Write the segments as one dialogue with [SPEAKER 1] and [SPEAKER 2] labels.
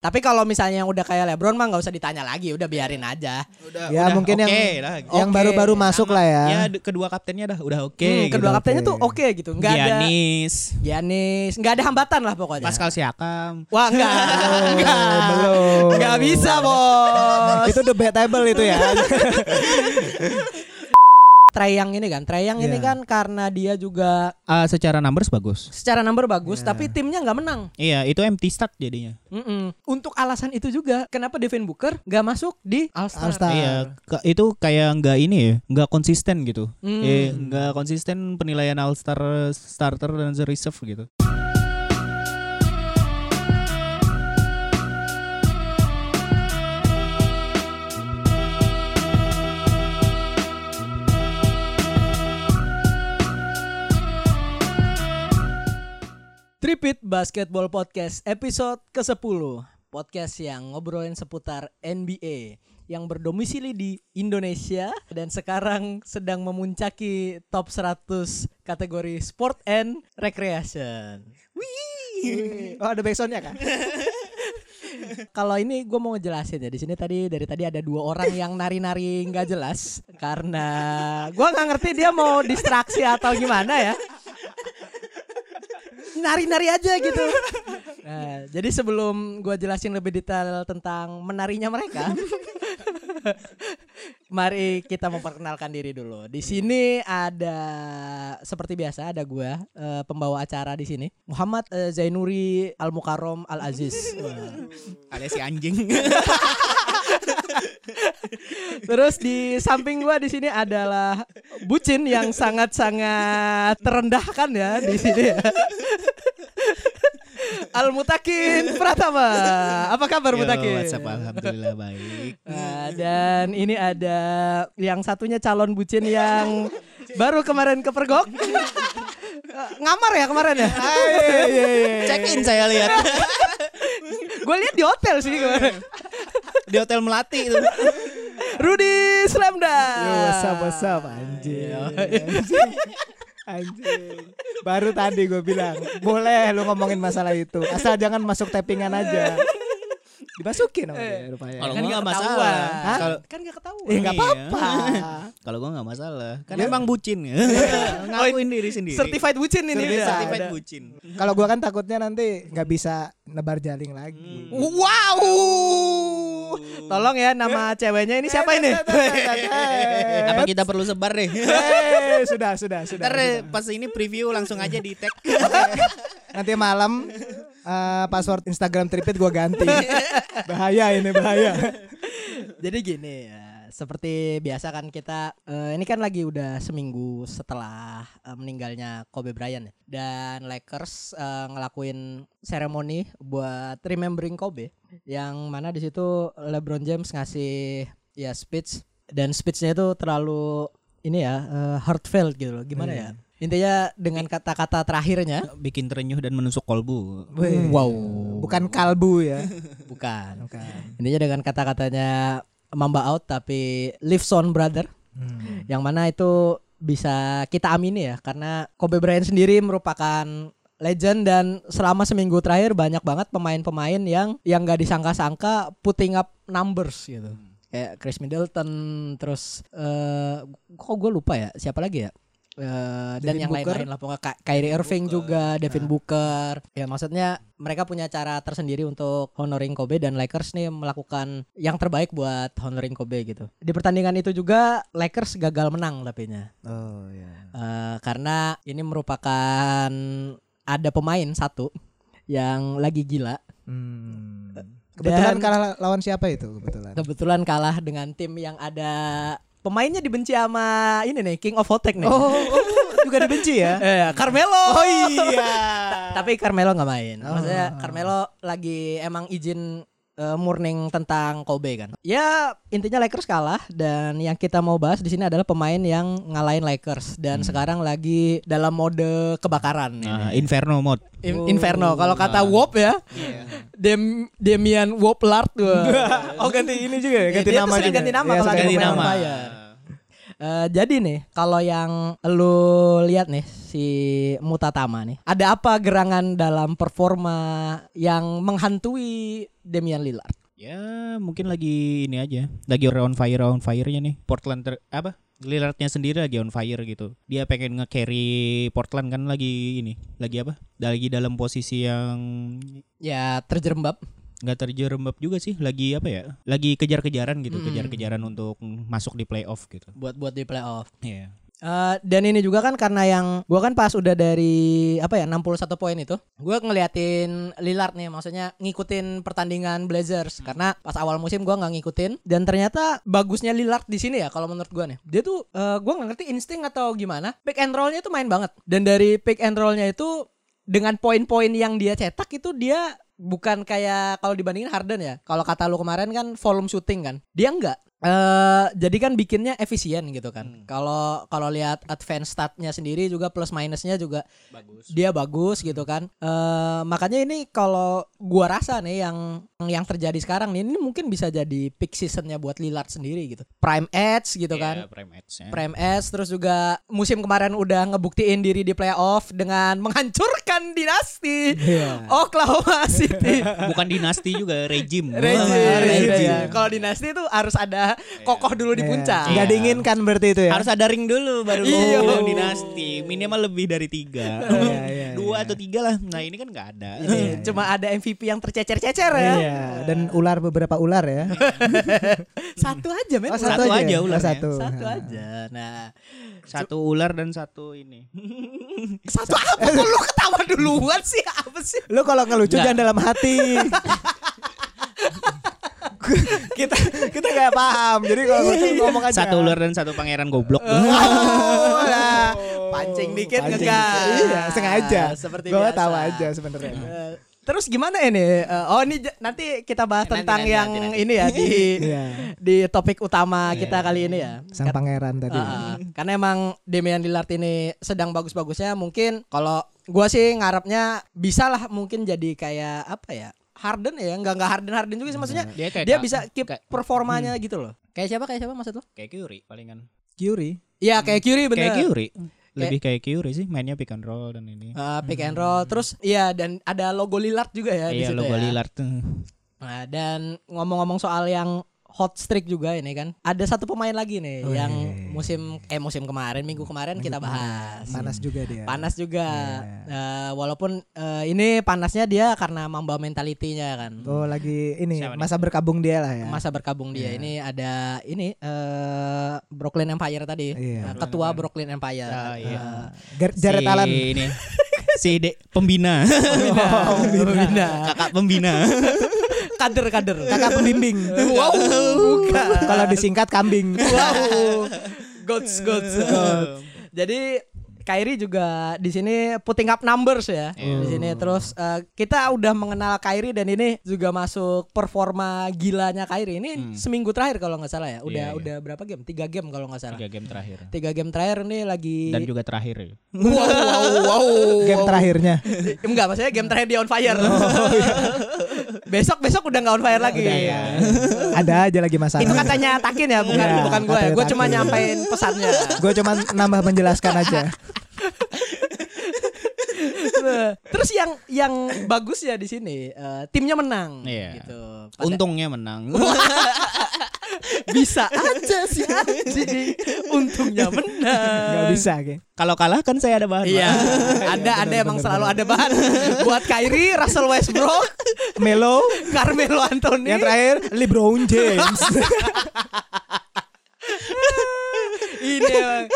[SPEAKER 1] Tapi kalau misalnya yang udah kayak LeBron mah nggak usah ditanya lagi, udah biarin aja.
[SPEAKER 2] Udah,
[SPEAKER 3] Ya,
[SPEAKER 2] udah
[SPEAKER 3] mungkin yang-
[SPEAKER 2] oke lah.
[SPEAKER 3] yang
[SPEAKER 1] Oke,
[SPEAKER 3] baru-baru masuk lah ya.
[SPEAKER 2] Ya d- kedua kaptennya dah udah oke.
[SPEAKER 1] Hmm,
[SPEAKER 2] gitu.
[SPEAKER 1] kedua
[SPEAKER 3] gitu,
[SPEAKER 1] kaptennya
[SPEAKER 3] oke.
[SPEAKER 1] tuh oke gitu, nggak ada
[SPEAKER 2] Giannis,
[SPEAKER 1] Giannis, nggak ada hambatan lah pokoknya.
[SPEAKER 2] Pascal Siakam.
[SPEAKER 1] Wah enggak, enggak,
[SPEAKER 3] belum.
[SPEAKER 1] enggak bisa bos.
[SPEAKER 3] itu debatable itu ya.
[SPEAKER 1] Treyang ini kan, Treyang ini
[SPEAKER 3] Iya.
[SPEAKER 1] kan karena dia juga
[SPEAKER 2] Eh, secara numbers bagus.
[SPEAKER 1] secara number
[SPEAKER 3] Iya.
[SPEAKER 1] bagus, tapi timnya nggak menang.
[SPEAKER 2] Iya, itu empty start jadinya.
[SPEAKER 1] Mm-mm. Untuk alasan itu juga, kenapa Devin Booker nggak masuk di All Star?
[SPEAKER 3] All Star.
[SPEAKER 2] Iya, ke- itu kayak nggak ini ya, nggak konsisten gitu.
[SPEAKER 3] Iya,
[SPEAKER 1] Hmm.
[SPEAKER 2] Eh, nggak konsisten penilaian All Star starter dan the reserve gitu.
[SPEAKER 1] Tripit Basketball Podcast episode ke-10 Podcast yang ngobrolin seputar NBA Yang berdomisili di Indonesia Dan sekarang sedang memuncaki top 100 kategori sport and recreation
[SPEAKER 3] oh ada backsoundnya kan?
[SPEAKER 1] Kalau ini gue mau ngejelasin ya di sini tadi dari tadi ada dua orang yang nari-nari nggak jelas Karena gua nggak ngerti dia mau distraksi atau gimana ya nari-nari aja gitu. Nah, jadi sebelum gua jelasin lebih detail tentang menarinya mereka, mari kita memperkenalkan diri dulu. Di sini ada seperti biasa ada gua eh, pembawa acara di sini Muhammad eh, Zainuri Al Mukarom Al Aziz. Wah.
[SPEAKER 2] Ada si anjing. Iya,
[SPEAKER 1] Terus di samping gua di sini adalah Bucin yang sangat-sangat terendahkan ya di sini. Ya. Al Mutakin Pratama. Apa kabar Mutakin?
[SPEAKER 2] WhatsApp alhamdulillah baik.
[SPEAKER 1] Nah, dan ini ada yang satunya calon bucin yang baru kemarin kepergok. Eh, Ngamar ya kemarin ya?
[SPEAKER 3] Iya,
[SPEAKER 2] Check in saya lihat
[SPEAKER 1] Gue lihat di hotel sih kemarin.
[SPEAKER 2] di hotel Melati itu.
[SPEAKER 1] Rudy Slamda.
[SPEAKER 3] Yo, what's up, what's up, anjing. anjing. Baru tadi gue bilang, boleh lu ngomongin masalah itu. Asal jangan masuk tappingan aja. Dibasukin sama dia rupanya.
[SPEAKER 1] Kan
[SPEAKER 2] Kalau gua
[SPEAKER 1] nggak
[SPEAKER 2] nggak
[SPEAKER 1] masalah.
[SPEAKER 2] masalah. Kalau-
[SPEAKER 1] Kan nggak ketahuan.
[SPEAKER 3] Eh, nggak
[SPEAKER 2] Iya.
[SPEAKER 3] apa-apa.
[SPEAKER 2] Kalau gua nggak masalah, kan emang bucin Oh, ya. Ngakuin diri sendiri.
[SPEAKER 1] Certified bucin ini.
[SPEAKER 3] Certified.
[SPEAKER 1] udah.
[SPEAKER 2] Certified
[SPEAKER 1] Udah.
[SPEAKER 2] bucin.
[SPEAKER 3] Kalau gua kan takutnya nanti nggak bisa nebar jaring lagi.
[SPEAKER 2] Hmm.
[SPEAKER 1] Wow. Tolong ya
[SPEAKER 2] Eh,
[SPEAKER 1] nama ceweknya ini siapa ini?
[SPEAKER 2] Apa kita perlu sebar deh?
[SPEAKER 3] Eh, sudah, sudah, sudah.
[SPEAKER 2] Ntar
[SPEAKER 3] sudah.
[SPEAKER 2] eh, pas ini preview langsung aja di tag.
[SPEAKER 3] Nanti malam eh, password Instagram Tripit gua ganti. Bahaya ini bahaya.
[SPEAKER 1] Jadi gini ya, seperti biasa kan kita eh, ini kan lagi udah seminggu setelah eh, meninggalnya Kobe Bryant ya. Dan Lakers eh, ngelakuin seremoni buat remembering Kobe yang mana di situ LeBron James ngasih ya speech dan speechnya itu terlalu ini ya eh, heartfelt gitu loh. Gimana
[SPEAKER 2] Iya.
[SPEAKER 1] ya? Intinya dengan kata-kata terakhirnya
[SPEAKER 2] Bikin terenyuh dan menusuk kolbu.
[SPEAKER 1] wow,
[SPEAKER 3] Bukan kalbu ya.
[SPEAKER 1] bukan.
[SPEAKER 3] Bukan.
[SPEAKER 1] Intinya dengan kata-katanya Mamba out tapi lives on brother. Yang mana itu bisa kita amini ya karena Kobe Bryant sendiri merupakan legend dan selama seminggu terakhir banyak banget pemain-pemain yang yang gak disangka-sangka putting up numbers gitu. Kayak Chris Middleton terus eh kok gue lupa ya siapa lagi ya? Eh, dan
[SPEAKER 3] Devin
[SPEAKER 1] yang
[SPEAKER 3] Booker. Nah.
[SPEAKER 1] lain-lain lah pokoknya Ka- Kyrie Irving juga, Devin Booker. Ya maksudnya mereka punya cara tersendiri untuk honoring Kobe dan Lakers nih melakukan yang terbaik buat honoring Kobe gitu. Di pertandingan itu juga Lakers gagal menang tapinya.
[SPEAKER 3] Oh ya.
[SPEAKER 1] Eh, karena ini merupakan ada pemain satu yang lagi gila.
[SPEAKER 3] Hmm. Kebetulan
[SPEAKER 1] Dan-
[SPEAKER 3] kalah lawan siapa itu kebetulan?
[SPEAKER 1] Kebetulan kalah dengan tim yang ada pemainnya dibenci sama ini nih King of Hotek nih.
[SPEAKER 3] juga dibenci ya.
[SPEAKER 1] Eh, Carmelo.
[SPEAKER 3] Oh iya. Oh.
[SPEAKER 1] Tapi Carmelo nggak main. Maksudnya Carmelo lagi emang izin eh, morning tentang Kobe kan. Ya intinya Lakers kalah dan yang kita mau bahas di sini adalah pemain yang ngalahin Lakers
[SPEAKER 3] Hmm.
[SPEAKER 1] dan sekarang lagi dalam mode kebakaran. ini.
[SPEAKER 3] Ah, iya.
[SPEAKER 2] Nah, Inferno mode.
[SPEAKER 1] In- Inferno. Kalau kata Wop ya,
[SPEAKER 3] Iya.
[SPEAKER 1] Dem Demian Woplard. Wah.
[SPEAKER 3] Oh ganti ini juga ya,
[SPEAKER 1] Ganti nama juga. Iya,
[SPEAKER 3] kalau
[SPEAKER 1] suka
[SPEAKER 3] lagi
[SPEAKER 1] ganti
[SPEAKER 3] pemain
[SPEAKER 1] nama.
[SPEAKER 3] Bayar.
[SPEAKER 1] Eh, jadi nih kalau yang lu lihat nih si Mutatama nih, ada apa gerangan dalam performa yang menghantui Damian Lillard.
[SPEAKER 2] Ya mungkin lagi ini aja Lagi on fire on fire-nya nih Portland ter, apa Lillardnya sendiri lagi on fire gitu Dia pengen nge-carry Portland kan lagi ini Lagi apa Lagi dalam posisi yang
[SPEAKER 1] Ya terjerembab.
[SPEAKER 2] nggak terjerembab juga sih Lagi apa ya Lagi kejar-kejaran gitu
[SPEAKER 1] Mm.
[SPEAKER 2] Kejar-kejaran untuk masuk di playoff gitu
[SPEAKER 1] buat buat di playoff.
[SPEAKER 2] Iya
[SPEAKER 1] Eh dan ini juga kan karena yang gua kan pas udah dari apa ya 61 poin itu, gua ngeliatin Lillard nih maksudnya ngikutin pertandingan Blazers karena pas awal musim gua nggak ngikutin dan ternyata bagusnya Lillard di sini ya kalau menurut gua nih. Dia tuh eh, gua nggak ngerti insting atau gimana, pick and rollnya tuh main banget. Dan dari pick and rollnya itu dengan poin-poin yang dia cetak itu dia bukan kayak kalau dibandingin Harden ya. Kalau kata lu kemarin kan volume shooting kan. Dia enggak. eh jadi kan bikinnya efisien gitu kan. Kalau kalau lihat advance statnya sendiri juga plus minusnya juga
[SPEAKER 2] Bagus
[SPEAKER 1] dia bagus gitu kan. eh makanya ini kalau gua rasa nih yang yang terjadi sekarang nih ini mungkin bisa jadi peak seasonnya buat Lillard sendiri gitu. Prime edge gitu
[SPEAKER 2] Iya,
[SPEAKER 1] kan.
[SPEAKER 2] Prime ya. Edge-nya.
[SPEAKER 1] Prem S terus juga musim kemarin udah ngebuktiin diri di playoff dengan menghancurkan dinasti Oklahoma City.
[SPEAKER 2] Bukan dinasti juga Regime
[SPEAKER 1] Reggie,
[SPEAKER 2] Wah,
[SPEAKER 1] Reggie.
[SPEAKER 2] regime.
[SPEAKER 1] Kalau dinasti itu harus ada kokoh dulu di puncak.
[SPEAKER 3] Enggak
[SPEAKER 2] Iya.
[SPEAKER 3] diinginkan berarti itu ya.
[SPEAKER 2] Harus ada ring dulu baru gua
[SPEAKER 1] Iya.
[SPEAKER 2] bilang dinasti. Minimal lebih dari tiga.
[SPEAKER 3] Iya, iya,
[SPEAKER 2] Dua atau tiga lah. Nah ini kan nggak ada.
[SPEAKER 1] Ini Cuma ada MVP yang tercecer-cecer ya.
[SPEAKER 3] Iya, dan ular beberapa ular ya.
[SPEAKER 1] Satu aja men.
[SPEAKER 3] Oh,
[SPEAKER 2] satu aja
[SPEAKER 3] Oh,
[SPEAKER 2] ularnya.
[SPEAKER 3] satu.
[SPEAKER 1] Satu aja. Nah,
[SPEAKER 2] Satu ular dan satu ini.
[SPEAKER 1] satu apa kok lu ketawa duluan sih? Apa sih?
[SPEAKER 3] Lu kalau ngelucu
[SPEAKER 2] Enggak.
[SPEAKER 3] jangan dalam hati. kita kita nggak paham. Jadi kalau ngelucu ngomong aja.
[SPEAKER 2] Satu ular dan satu pangeran goblok.
[SPEAKER 1] Oh, lah. Pancing dikit
[SPEAKER 3] Pancing.
[SPEAKER 1] ngegas.
[SPEAKER 3] Iya, sengaja.
[SPEAKER 1] Seperti
[SPEAKER 3] Gua
[SPEAKER 1] biasa.
[SPEAKER 3] tahu aja sebenarnya.
[SPEAKER 1] Eh, Terus gimana ini? Eh, oh ini j- nanti kita bahas
[SPEAKER 2] Nanti,
[SPEAKER 1] tentang
[SPEAKER 2] nanti,
[SPEAKER 1] yang
[SPEAKER 2] nanti, Iya. nanti.
[SPEAKER 1] ini ya di
[SPEAKER 3] Iya.
[SPEAKER 1] di topik utama kita kali ini ya.
[SPEAKER 3] Sang pangeran tadi.
[SPEAKER 1] Ah, karena emang Damian Lillard ini sedang bagus-bagusnya mungkin kalau gua sih ngarepnya bisa lah mungkin jadi kayak apa ya? Harden ya, nggak nggak Harden Harden juga sih maksudnya.
[SPEAKER 2] Dia Iya. kayak
[SPEAKER 1] Dia
[SPEAKER 2] Ka-
[SPEAKER 1] bisa keep
[SPEAKER 2] kayak- Hmm.
[SPEAKER 1] performanya gitu loh. Kayak siapa? Kayak siapa maksud lo?
[SPEAKER 2] Kayak Curry palingan.
[SPEAKER 3] Kyuri.
[SPEAKER 1] Iya, kayak Curry bener.
[SPEAKER 2] Kayak Curry. Lebih kayak Curry sih mainnya pick and roll dan ini.
[SPEAKER 1] Ah, pick and roll terus iya dan ada logo Lillard juga ya di
[SPEAKER 2] Iya
[SPEAKER 1] situ
[SPEAKER 2] logo
[SPEAKER 1] ya.
[SPEAKER 2] Lillard tuh.
[SPEAKER 1] Nah, dan ngomong-ngomong soal yang hot streak juga ini kan. Ada satu pemain lagi nih yang musim eh musim kemarin minggu kemarin kita bahas.
[SPEAKER 3] Panas juga dia.
[SPEAKER 1] Panas juga. Eh, walaupun eh, ini panasnya dia karena mamba mentalitinya kan.
[SPEAKER 3] Oh lagi ini
[SPEAKER 2] Siapa nih?
[SPEAKER 3] masa berkabung dia lah ya.
[SPEAKER 1] Masa berkabung dia. Ini ada ini eh Brooklyn Empire tadi. Eh,
[SPEAKER 3] Iya.
[SPEAKER 1] Ketua Brooklyn Empire.
[SPEAKER 2] Ah, iya.
[SPEAKER 1] Eh,
[SPEAKER 3] Ger- Jared
[SPEAKER 2] si
[SPEAKER 3] Allen.
[SPEAKER 2] ini. si de, pembina.
[SPEAKER 1] Oh, pembina.
[SPEAKER 2] Kakak pembina.
[SPEAKER 1] Eh, Kader-kader.
[SPEAKER 3] Kakak pembimbing.
[SPEAKER 1] Wow, bukan.
[SPEAKER 3] Kalau disingkat kambing.
[SPEAKER 1] Wow. Goats, goats. Jadi Kairi juga di sini putting up numbers ya.
[SPEAKER 2] Iya.
[SPEAKER 1] Di sini terus eh, kita udah mengenal Kairi dan ini juga masuk performa gilanya Kairi. Ini seminggu terakhir kalau nggak salah ya. Udah
[SPEAKER 2] Hmm. Iya, iya.
[SPEAKER 1] udah berapa game? Tiga game kalau nggak salah.
[SPEAKER 2] Tiga game terakhir.
[SPEAKER 1] Tiga game terakhir nih lagi
[SPEAKER 2] Dan juga terakhir. ya.
[SPEAKER 1] wow wow wow.
[SPEAKER 3] Game terakhirnya.
[SPEAKER 1] Enggak, maksudnya game terakhir dia on fire.
[SPEAKER 2] Oh, iya.
[SPEAKER 1] besok besok udah nggak on fire
[SPEAKER 3] Iya,
[SPEAKER 1] lagi.
[SPEAKER 3] Ya, Ada aja lagi masalah.
[SPEAKER 1] Itu katanya Takin ya, bukan
[SPEAKER 3] Iya,
[SPEAKER 1] bukan gue.
[SPEAKER 3] katanya
[SPEAKER 1] Gue cuma
[SPEAKER 3] Takin.
[SPEAKER 1] nyampein pesannya.
[SPEAKER 3] Gue cuma nambah menjelaskan aja.
[SPEAKER 1] Nah, Terus yang yang bagus ya di sini eh, timnya menang
[SPEAKER 2] Iya.
[SPEAKER 1] gitu. Pada-
[SPEAKER 2] Untungnya menang.
[SPEAKER 1] bisa aja sih anjing. Untungnya menang.
[SPEAKER 3] Gak bisa kayak.
[SPEAKER 2] Kalau kalah kan saya ada bahan.
[SPEAKER 1] Iya,
[SPEAKER 2] Bang.
[SPEAKER 1] ada ada emang selalu ada bahan buat Kyrie, Russell Westbrook,
[SPEAKER 3] Melo.
[SPEAKER 1] Carmelo Anthony.
[SPEAKER 3] Yang terakhir LeBron James.
[SPEAKER 1] Ini emang.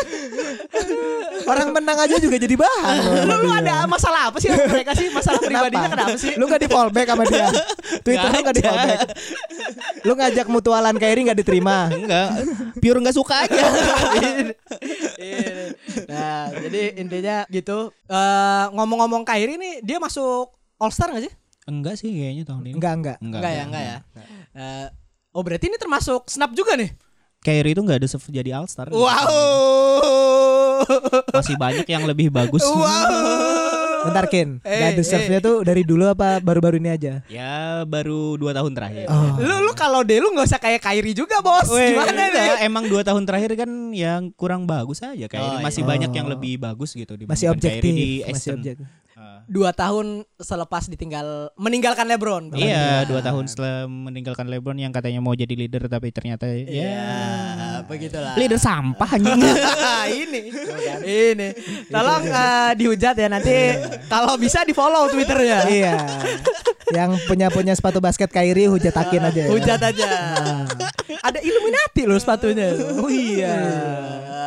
[SPEAKER 3] Orang menang aja juga jadi bahan.
[SPEAKER 1] lu, lu ada masalah apa sih sama mereka sih? Masalah pribadinya kenapa sih?
[SPEAKER 3] Lu gak di fallback sama dia. Twitter lu gak di fallback. Lu ngajak mutualan Kyrie gak diterima.
[SPEAKER 2] Enggak. Pure enggak suka aja.
[SPEAKER 1] Iya. nah, jadi intinya gitu. Eh, ngomong-ngomong Kyrie nih, dia masuk All Star gak sih?
[SPEAKER 2] enggak sih kayaknya tahun ini.
[SPEAKER 3] Enggak enggak.
[SPEAKER 2] Enggak.
[SPEAKER 1] Enggak ya, enggak ya. Eh, oh berarti ini termasuk snap juga nih.
[SPEAKER 2] Kyrie itu enggak ada sef- jadi All Star.
[SPEAKER 1] Wow.
[SPEAKER 2] Masih banyak yang lebih bagus.
[SPEAKER 1] wow.
[SPEAKER 3] Bentar Kin.
[SPEAKER 1] Eh,
[SPEAKER 3] Gak deserve-nya tuh dari dulu apa baru-baru ini aja?
[SPEAKER 2] Ya baru 2 tahun terakhir.
[SPEAKER 3] Oh.
[SPEAKER 1] Lu lu kalau deh lu nggak usah kayak Kyrie juga, Bos. Gimana nih?
[SPEAKER 2] Enggak, emang 2 tahun terakhir kan yang kurang bagus aja Kyrie.
[SPEAKER 1] Oh,
[SPEAKER 2] Masih
[SPEAKER 3] iya.
[SPEAKER 2] banyak yang
[SPEAKER 3] Oh.
[SPEAKER 2] lebih bagus gitu dibandingkan
[SPEAKER 3] Masih objektif.
[SPEAKER 2] Kyrie di
[SPEAKER 3] Masih
[SPEAKER 2] Aston. Ah.
[SPEAKER 3] objektif.
[SPEAKER 1] dua tahun selepas ditinggal meninggalkan LeBron. bukan
[SPEAKER 2] Iya,
[SPEAKER 1] dia.
[SPEAKER 2] dua tahun setelah meninggalkan LeBron yang katanya mau jadi leader tapi ternyata
[SPEAKER 1] Iya,
[SPEAKER 2] ya
[SPEAKER 1] begitulah.
[SPEAKER 2] leader sampah anjing.
[SPEAKER 1] ini. ini. Tolong eh, dihujat ya nanti kalau bisa di-follow Twitternya.
[SPEAKER 3] Iya. Yang punya-punya sepatu basket Kairi hujatakin aja. ya.
[SPEAKER 1] Hujat aja. Ada Illuminati loh sepatunya. Iya. Oh iya.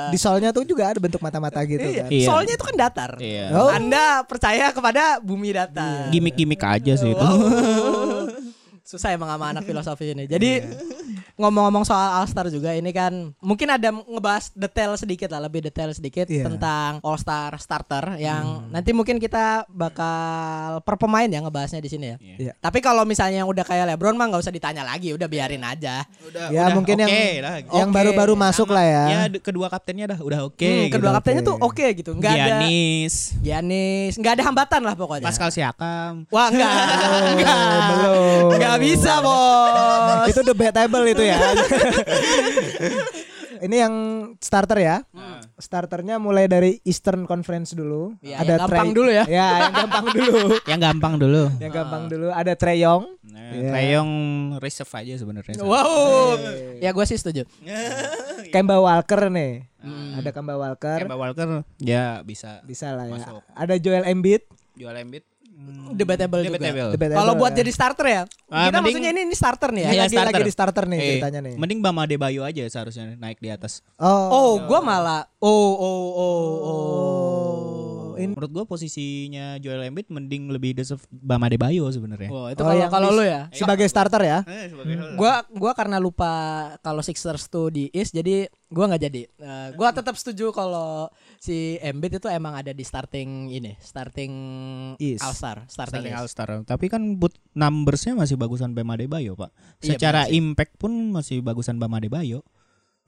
[SPEAKER 3] Di solnya tuh juga ada bentuk mata-mata gitu kan.
[SPEAKER 2] Iya.
[SPEAKER 1] Soalnya itu kan datar.
[SPEAKER 2] Iya.
[SPEAKER 3] Oh. Iya.
[SPEAKER 1] Anda percaya kepada bumi datar.
[SPEAKER 2] Gimik-gimik aja sih itu.
[SPEAKER 1] Wow. Susah emang sama anak filosofi ini. Jadi
[SPEAKER 3] Iya.
[SPEAKER 1] ngomong-ngomong soal All Star juga ini kan mungkin ada ngebahas detail sedikit lah, lebih detail sedikit
[SPEAKER 3] Iya. Hmm.
[SPEAKER 1] tentang All Star starter yang nanti mungkin kita bakal per pemain ya ngebahasnya di sini ya.
[SPEAKER 3] Iya.
[SPEAKER 1] Tapi kalau misalnya yang udah kayak LeBron mah nggak usah ditanya lagi, udah biarin aja.
[SPEAKER 3] Ya mungkin yang
[SPEAKER 2] oke lah.
[SPEAKER 3] yang
[SPEAKER 1] Oke.
[SPEAKER 3] baru-baru masuk lah ya.
[SPEAKER 2] Ya d- kedua kaptennya dah udah oke.
[SPEAKER 1] Hmm, kedua
[SPEAKER 3] gitu,
[SPEAKER 1] kaptennya
[SPEAKER 3] oke.
[SPEAKER 1] tuh oke gitu, nggak ada
[SPEAKER 2] Giannis,
[SPEAKER 1] Giannis, nggak ada hambatan lah pokoknya.
[SPEAKER 2] Pascal Siakam.
[SPEAKER 1] Wah enggak, enggak,
[SPEAKER 3] belum.
[SPEAKER 1] enggak bisa bos.
[SPEAKER 3] Itu debatable itu ya. Ini yang starter ya.
[SPEAKER 2] Nah.
[SPEAKER 3] Starternya mulai dari Eastern Conference dulu.
[SPEAKER 2] Iya,
[SPEAKER 1] Ya, yang gampang dulu ya.
[SPEAKER 3] Ya, yang gampang dulu.
[SPEAKER 2] Yang gampang dulu.
[SPEAKER 3] yang gampang dulu ada Trey Young.
[SPEAKER 2] Nah,
[SPEAKER 3] Iya.
[SPEAKER 2] Trae Young reserve aja sebenarnya.
[SPEAKER 1] Wow, ya gue sih setuju.
[SPEAKER 3] Kemba Walker nih. Ada Kemba Walker.
[SPEAKER 2] Iya. Hmm. Kemba Walker ya bisa
[SPEAKER 3] Bisa lah ya.
[SPEAKER 2] Masuk.
[SPEAKER 3] Ada Joel Embiid.
[SPEAKER 2] jual Embiid.
[SPEAKER 1] Debatable, juga.
[SPEAKER 2] Debatable.
[SPEAKER 3] Debatable
[SPEAKER 1] Kalau buat
[SPEAKER 3] ya.
[SPEAKER 1] jadi starter ya,
[SPEAKER 2] Ah,
[SPEAKER 1] kita
[SPEAKER 2] mending-
[SPEAKER 1] maksudnya ini, ini starter nih ya.
[SPEAKER 2] Iya,
[SPEAKER 3] lagi, lagi
[SPEAKER 2] starter.
[SPEAKER 3] di starter nih
[SPEAKER 2] Eh,
[SPEAKER 3] ceritanya nih.
[SPEAKER 2] Mending Bama Adebayo aja seharusnya naik di atas.
[SPEAKER 3] Oh.
[SPEAKER 1] Oh, gue malah, oh, oh, oh, oh.
[SPEAKER 3] In-
[SPEAKER 2] Menurut gua posisinya Joel Embiid mending lebih deserve Bama Adebayo sebenarnya.
[SPEAKER 1] Wah, itu
[SPEAKER 3] Oh,
[SPEAKER 1] kalau
[SPEAKER 3] yang
[SPEAKER 1] kalau
[SPEAKER 3] bis-
[SPEAKER 1] lu ya.
[SPEAKER 2] Iya,
[SPEAKER 3] Sebagai starter ya.
[SPEAKER 2] Eh, sebagai
[SPEAKER 1] Gua gua karena lupa kalau Sixers tuh di East jadi gua nggak jadi. Eh, gua tetap setuju kalau si Embiid itu emang ada di starting ini, starting
[SPEAKER 3] East.
[SPEAKER 1] All Star, starting,
[SPEAKER 2] starting
[SPEAKER 1] East.
[SPEAKER 2] All Star. Tapi kan but numbersnya masih bagusan Bam Adebayo, Pak.
[SPEAKER 1] Iya,
[SPEAKER 2] Secara impact pun masih bagusan Bam Adebayo.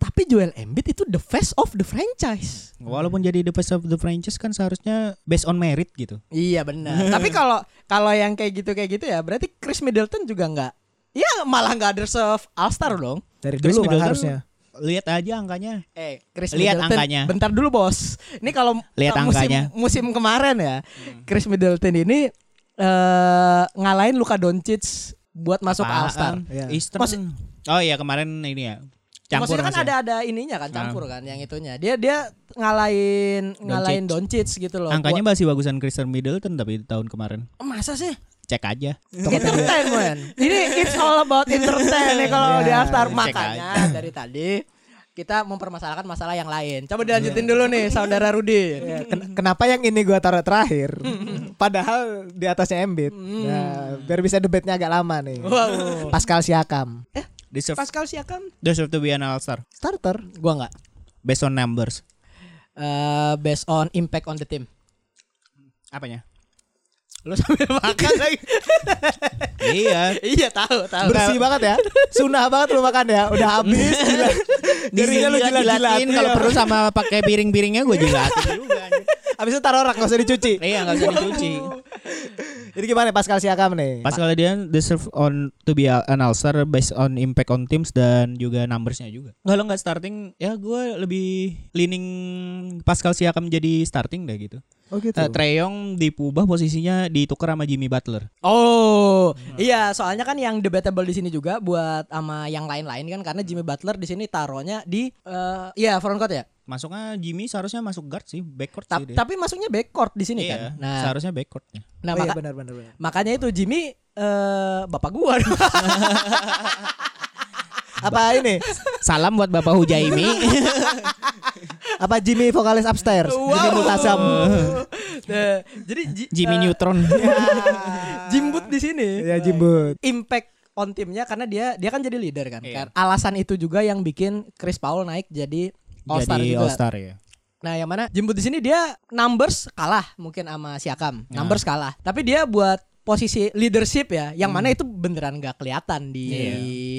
[SPEAKER 1] Tapi Joel Embiid itu the face of the franchise.
[SPEAKER 2] Walaupun jadi the best of the franchise kan seharusnya based on merit gitu.
[SPEAKER 1] Iya benar. Tapi kalau kalau yang kayak gitu kayak gitu ya berarti Chris Middleton juga nggak. Iya malah nggak deserve All Star dong.
[SPEAKER 3] Dari
[SPEAKER 2] Chris
[SPEAKER 3] dulu
[SPEAKER 2] Middleton
[SPEAKER 3] malah harusnya.
[SPEAKER 2] Lihat aja angkanya.
[SPEAKER 1] Eh Chris
[SPEAKER 2] Lihat
[SPEAKER 1] Middleton.
[SPEAKER 2] angkanya.
[SPEAKER 1] Bentar dulu bos. Ini kalau
[SPEAKER 2] Lihat
[SPEAKER 1] eh, musim,
[SPEAKER 2] angkanya. Hmm.
[SPEAKER 1] musim kemarin ya Chris Middleton ini eh ngalahin Luka Doncic buat masuk
[SPEAKER 2] Apaan?
[SPEAKER 1] All Star.
[SPEAKER 3] Iya.
[SPEAKER 2] Eastern.
[SPEAKER 1] Maksud-
[SPEAKER 2] oh iya kemarin ini ya. Campur
[SPEAKER 1] Maksudnya
[SPEAKER 2] Ah.
[SPEAKER 1] kan
[SPEAKER 2] hasil.
[SPEAKER 1] ada ada ininya kan campur kan yang itunya. Dia dia ngalahin ngalahin Doncic gitu loh.
[SPEAKER 2] Angkanya masih bagusan Christian Middleton tapi di tahun kemarin.
[SPEAKER 1] Buat- masa sih?
[SPEAKER 2] Cek aja.
[SPEAKER 1] entertainment. Ini it's all about entertain nih kalau
[SPEAKER 3] Ya,
[SPEAKER 1] di Aftar
[SPEAKER 2] cek
[SPEAKER 1] makanya dari tadi kita mempermasalahkan masalah yang lain. Coba
[SPEAKER 3] Iya.
[SPEAKER 1] dilanjutin dulu nih saudara Rudi.
[SPEAKER 3] Ya,
[SPEAKER 2] Mhm.
[SPEAKER 3] ken- kenapa yang ini gua taruh terakhir? Padahal di atasnya Embiid.
[SPEAKER 2] Mhm.
[SPEAKER 3] Nah, biar bisa debatnya agak lama nih.
[SPEAKER 1] Wow.
[SPEAKER 3] Pascal Siakam.
[SPEAKER 2] Deserve,
[SPEAKER 1] Pascal Siakam?
[SPEAKER 2] deserve to be an all-star
[SPEAKER 3] Starter.
[SPEAKER 1] Gua nggak.
[SPEAKER 2] based on numbers.
[SPEAKER 1] Eh, based on impact on the team.
[SPEAKER 2] Apanya?
[SPEAKER 1] Lu sambil makan lagi.
[SPEAKER 2] iya.
[SPEAKER 1] iya tahu tahu.
[SPEAKER 3] Bersih banget ya. Sunah banget lu makan ya. Udah habis. gila. Jarinya lu jilat-jilatin.
[SPEAKER 2] Kalau
[SPEAKER 3] Iya.
[SPEAKER 2] perlu sama pakai piring-piringnya gue jilatin juga. anjing.
[SPEAKER 3] Habis itu taruh rak gak usah dicuci.
[SPEAKER 2] Iya nggak usah dicuci.
[SPEAKER 3] Jadi gimana Pascal Siakam nih?
[SPEAKER 2] Pas kalau dia deserve on to be an all-star based on impact on teams dan juga numbersnya juga. Kalau nggak starting ya gue lebih leaning Pascal Siakam jadi starting deh gitu.
[SPEAKER 3] oh gitu.
[SPEAKER 2] Eh, Trae Young diubah posisinya ditukar sama Jimmy Butler.
[SPEAKER 1] Oh, iya soalnya kan yang debatable di sini juga buat sama yang lain-lain kan karena Jimmy Butler di sini taruhnya di eh ya front court ya.
[SPEAKER 2] Masuknya Jimmy seharusnya masuk guard sih, backcourt
[SPEAKER 1] Ta-
[SPEAKER 2] sih dia.
[SPEAKER 1] tapi masuknya backcourt di sini
[SPEAKER 2] Iya,
[SPEAKER 1] kan. Nah,
[SPEAKER 2] seharusnya backcourtnya.
[SPEAKER 1] nah
[SPEAKER 3] oh iya
[SPEAKER 1] maka-
[SPEAKER 3] benar benar benar.
[SPEAKER 1] makanya itu Jimmy eh bapak gua.
[SPEAKER 3] Apa ini?
[SPEAKER 2] Salam buat Bapak Hujaimi.
[SPEAKER 3] Apa Jimmy vokalis upstairs? Jimmy Multasam.
[SPEAKER 1] Nah, jadi Ji-
[SPEAKER 2] Jimmy
[SPEAKER 1] eh,
[SPEAKER 2] Neutron.
[SPEAKER 1] Jimbut di sini. Nah,
[SPEAKER 3] Ya jimbut.
[SPEAKER 1] Impact on timnya karena dia dia kan jadi leader kan. Kar- Alasan itu juga yang bikin Chris Paul naik jadi All Star
[SPEAKER 2] Jadi
[SPEAKER 1] juga.
[SPEAKER 2] All Star ya.
[SPEAKER 1] Nah, yang mana Jimbut di sini dia numbers kalah mungkin sama Siakam. Numbers kalah. Tapi dia buat posisi leadership ya, yang mana itu beneran gak kelihatan di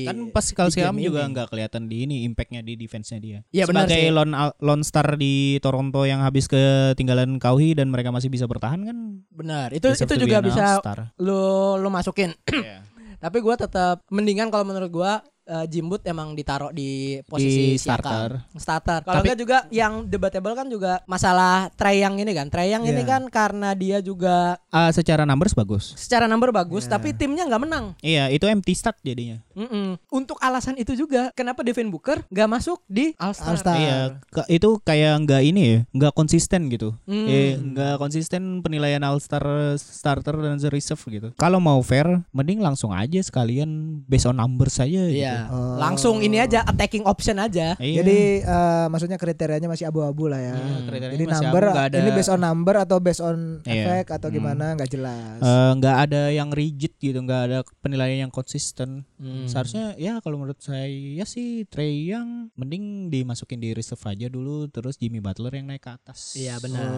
[SPEAKER 2] Kan pas kalau
[SPEAKER 1] di Iya, game
[SPEAKER 2] Siakam juga
[SPEAKER 1] ini.
[SPEAKER 2] nggak kelihatan di ini impactnya di defense-nya dia.
[SPEAKER 1] Iya, benar
[SPEAKER 2] Sebagai
[SPEAKER 1] sih.
[SPEAKER 2] lone lone star di Toronto yang habis ketinggalan Kauhi dan mereka masih bisa bertahan kan.
[SPEAKER 1] Benar. Itu
[SPEAKER 2] deserve
[SPEAKER 1] itu
[SPEAKER 2] to be
[SPEAKER 1] juga
[SPEAKER 2] an
[SPEAKER 1] bisa
[SPEAKER 2] all-star.
[SPEAKER 1] lu lu masukin.
[SPEAKER 2] Iya.
[SPEAKER 1] Tapi gua tetap mendingan kalau menurut gua eh, eh, Jimbut emang ditaruh di posisi
[SPEAKER 2] Di starter.
[SPEAKER 1] Siakam. starter. Kalau
[SPEAKER 2] Tapi-
[SPEAKER 1] enggak juga yang debatable kan juga masalah Trey yang ini kan. Trey yang ini
[SPEAKER 3] Iya.
[SPEAKER 1] kan karena dia juga
[SPEAKER 2] Ah, secara numbers bagus.
[SPEAKER 1] secara number bagus tapi timnya nggak menang.
[SPEAKER 2] Iya, itu empty stat jadinya.
[SPEAKER 1] Mm-mm. Untuk alasan itu juga kenapa Devin Booker nggak masuk di All Star.
[SPEAKER 3] All-Star.
[SPEAKER 2] Iya, ke- itu kayak nggak ini ya, nggak konsisten gitu.
[SPEAKER 1] Hmm.
[SPEAKER 2] Eh, nggak konsisten penilaian All Star starter dan the reserve gitu. Kalau mau fair, mending langsung aja sekalian based on numbers
[SPEAKER 1] Iya.
[SPEAKER 2] saja gitu.
[SPEAKER 3] Oh.
[SPEAKER 1] Langsung ini aja attacking option aja.
[SPEAKER 2] Iya.
[SPEAKER 3] Jadi eh, maksudnya kriterianya masih abu-abu lah ya.
[SPEAKER 2] Hmm, kriterianya
[SPEAKER 3] Jadi
[SPEAKER 2] masih abu,
[SPEAKER 3] number
[SPEAKER 2] nggak ada-
[SPEAKER 3] ini based on number atau based on
[SPEAKER 2] Iya.
[SPEAKER 3] efek atau
[SPEAKER 2] Hmm.
[SPEAKER 3] gimana nggak jelas.
[SPEAKER 2] Eh, nggak ada yang rigid gitu, nggak ada penilaian yang konsisten.
[SPEAKER 1] Hmm.
[SPEAKER 2] Seharusnya ya kalau menurut saya ya sih Trey yang mending dimasukin di reserve aja dulu, terus Jimmy Butler yang naik ke atas.
[SPEAKER 1] Iya
[SPEAKER 3] Oh.
[SPEAKER 1] benar.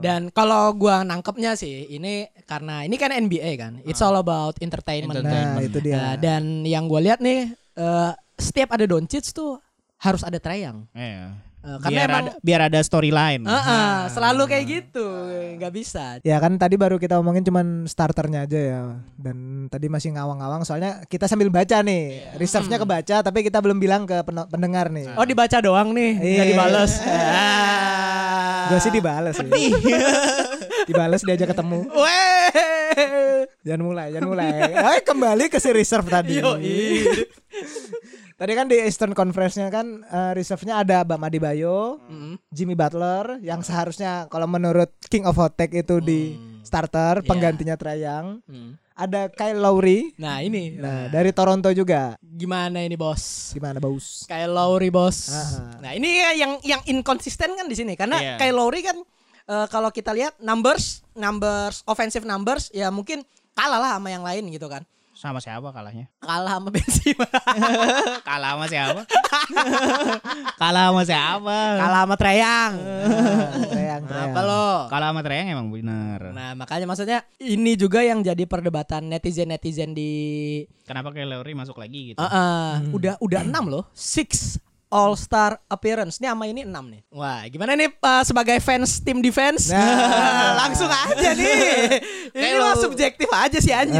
[SPEAKER 1] Dan kalau gua nangkepnya sih ini karena ini kan NBA kan. It's all about entertainment.
[SPEAKER 3] Nah itu
[SPEAKER 1] Nah,
[SPEAKER 3] dia.
[SPEAKER 1] dan yang gua lihat nih eh, setiap ada Doncic tuh harus ada Treyang.
[SPEAKER 2] Iya.
[SPEAKER 1] Eh, karena
[SPEAKER 2] Biar
[SPEAKER 1] emang
[SPEAKER 2] ada, biar ada storyline.
[SPEAKER 1] Eh, eh, selalu kayak gitu, nggak bisa.
[SPEAKER 3] Ya kan tadi baru kita omongin cuman starternya aja ya Dan tadi masih ngawang-ngawang soalnya kita sambil baca nih
[SPEAKER 2] Hmm.
[SPEAKER 3] Reserve-nya kebaca tapi kita belum bilang ke peno- pendengar nih
[SPEAKER 1] Oh dibaca doang nih, nggak
[SPEAKER 3] Nah. Iya.
[SPEAKER 1] dibales.
[SPEAKER 2] Ah.
[SPEAKER 3] Gue sih dibales ya.
[SPEAKER 2] Iya.
[SPEAKER 3] Dibales diajak ketemu
[SPEAKER 1] Weh.
[SPEAKER 3] Jangan mulai, jangan mulai Eh,
[SPEAKER 2] Iya.
[SPEAKER 3] Kembali ke si reserve tadi
[SPEAKER 1] Yoi.
[SPEAKER 3] Tadi kan di Eastern Conference-nya kan eh, Reserve-nya ada Bam Adebayo
[SPEAKER 1] Mm.
[SPEAKER 3] Jimmy Butler Yang seharusnya kalau menurut King of Hot Take itu di
[SPEAKER 2] Hmm.
[SPEAKER 3] starter
[SPEAKER 2] Iya.
[SPEAKER 3] Penggantinya Trae Young
[SPEAKER 1] Mm.
[SPEAKER 3] Ada Kyle Lowry
[SPEAKER 1] Nah ini
[SPEAKER 3] Nah, dari Toronto juga.
[SPEAKER 1] gimana ini bos?
[SPEAKER 3] Gimana Baus?
[SPEAKER 1] Kyle Lowry bos.
[SPEAKER 3] Ah.
[SPEAKER 1] Nah ini ya yang yang inkonsisten kan di sini karena
[SPEAKER 2] Iya.
[SPEAKER 1] Kyle Lowry kan eh, kalau kita lihat numbers numbers offensive numbers ya mungkin kalah lah sama yang lain gitu kan.
[SPEAKER 2] Sama siapa kalahnya?
[SPEAKER 1] Kalah sama Ben Simmons.
[SPEAKER 2] Kalah sama siapa? Kalah sama siapa?
[SPEAKER 1] kalah sama Treyang.
[SPEAKER 3] Reang,
[SPEAKER 1] Apa lo?
[SPEAKER 2] Eh, Kalah sama Treyang emang bener.
[SPEAKER 1] Nah makanya maksudnya ini juga yang jadi perdebatan netizen netizen di
[SPEAKER 2] Kenapa kayak Lowry masuk lagi gitu?
[SPEAKER 1] Ah, ah. udah udah enam loh six All Star appearance ini sama ini enam nih. Wah gimana nih Pak, sebagai fans tim defense
[SPEAKER 3] Nah.
[SPEAKER 1] langsung aja nih. ini mah subjektif aja sih anjing.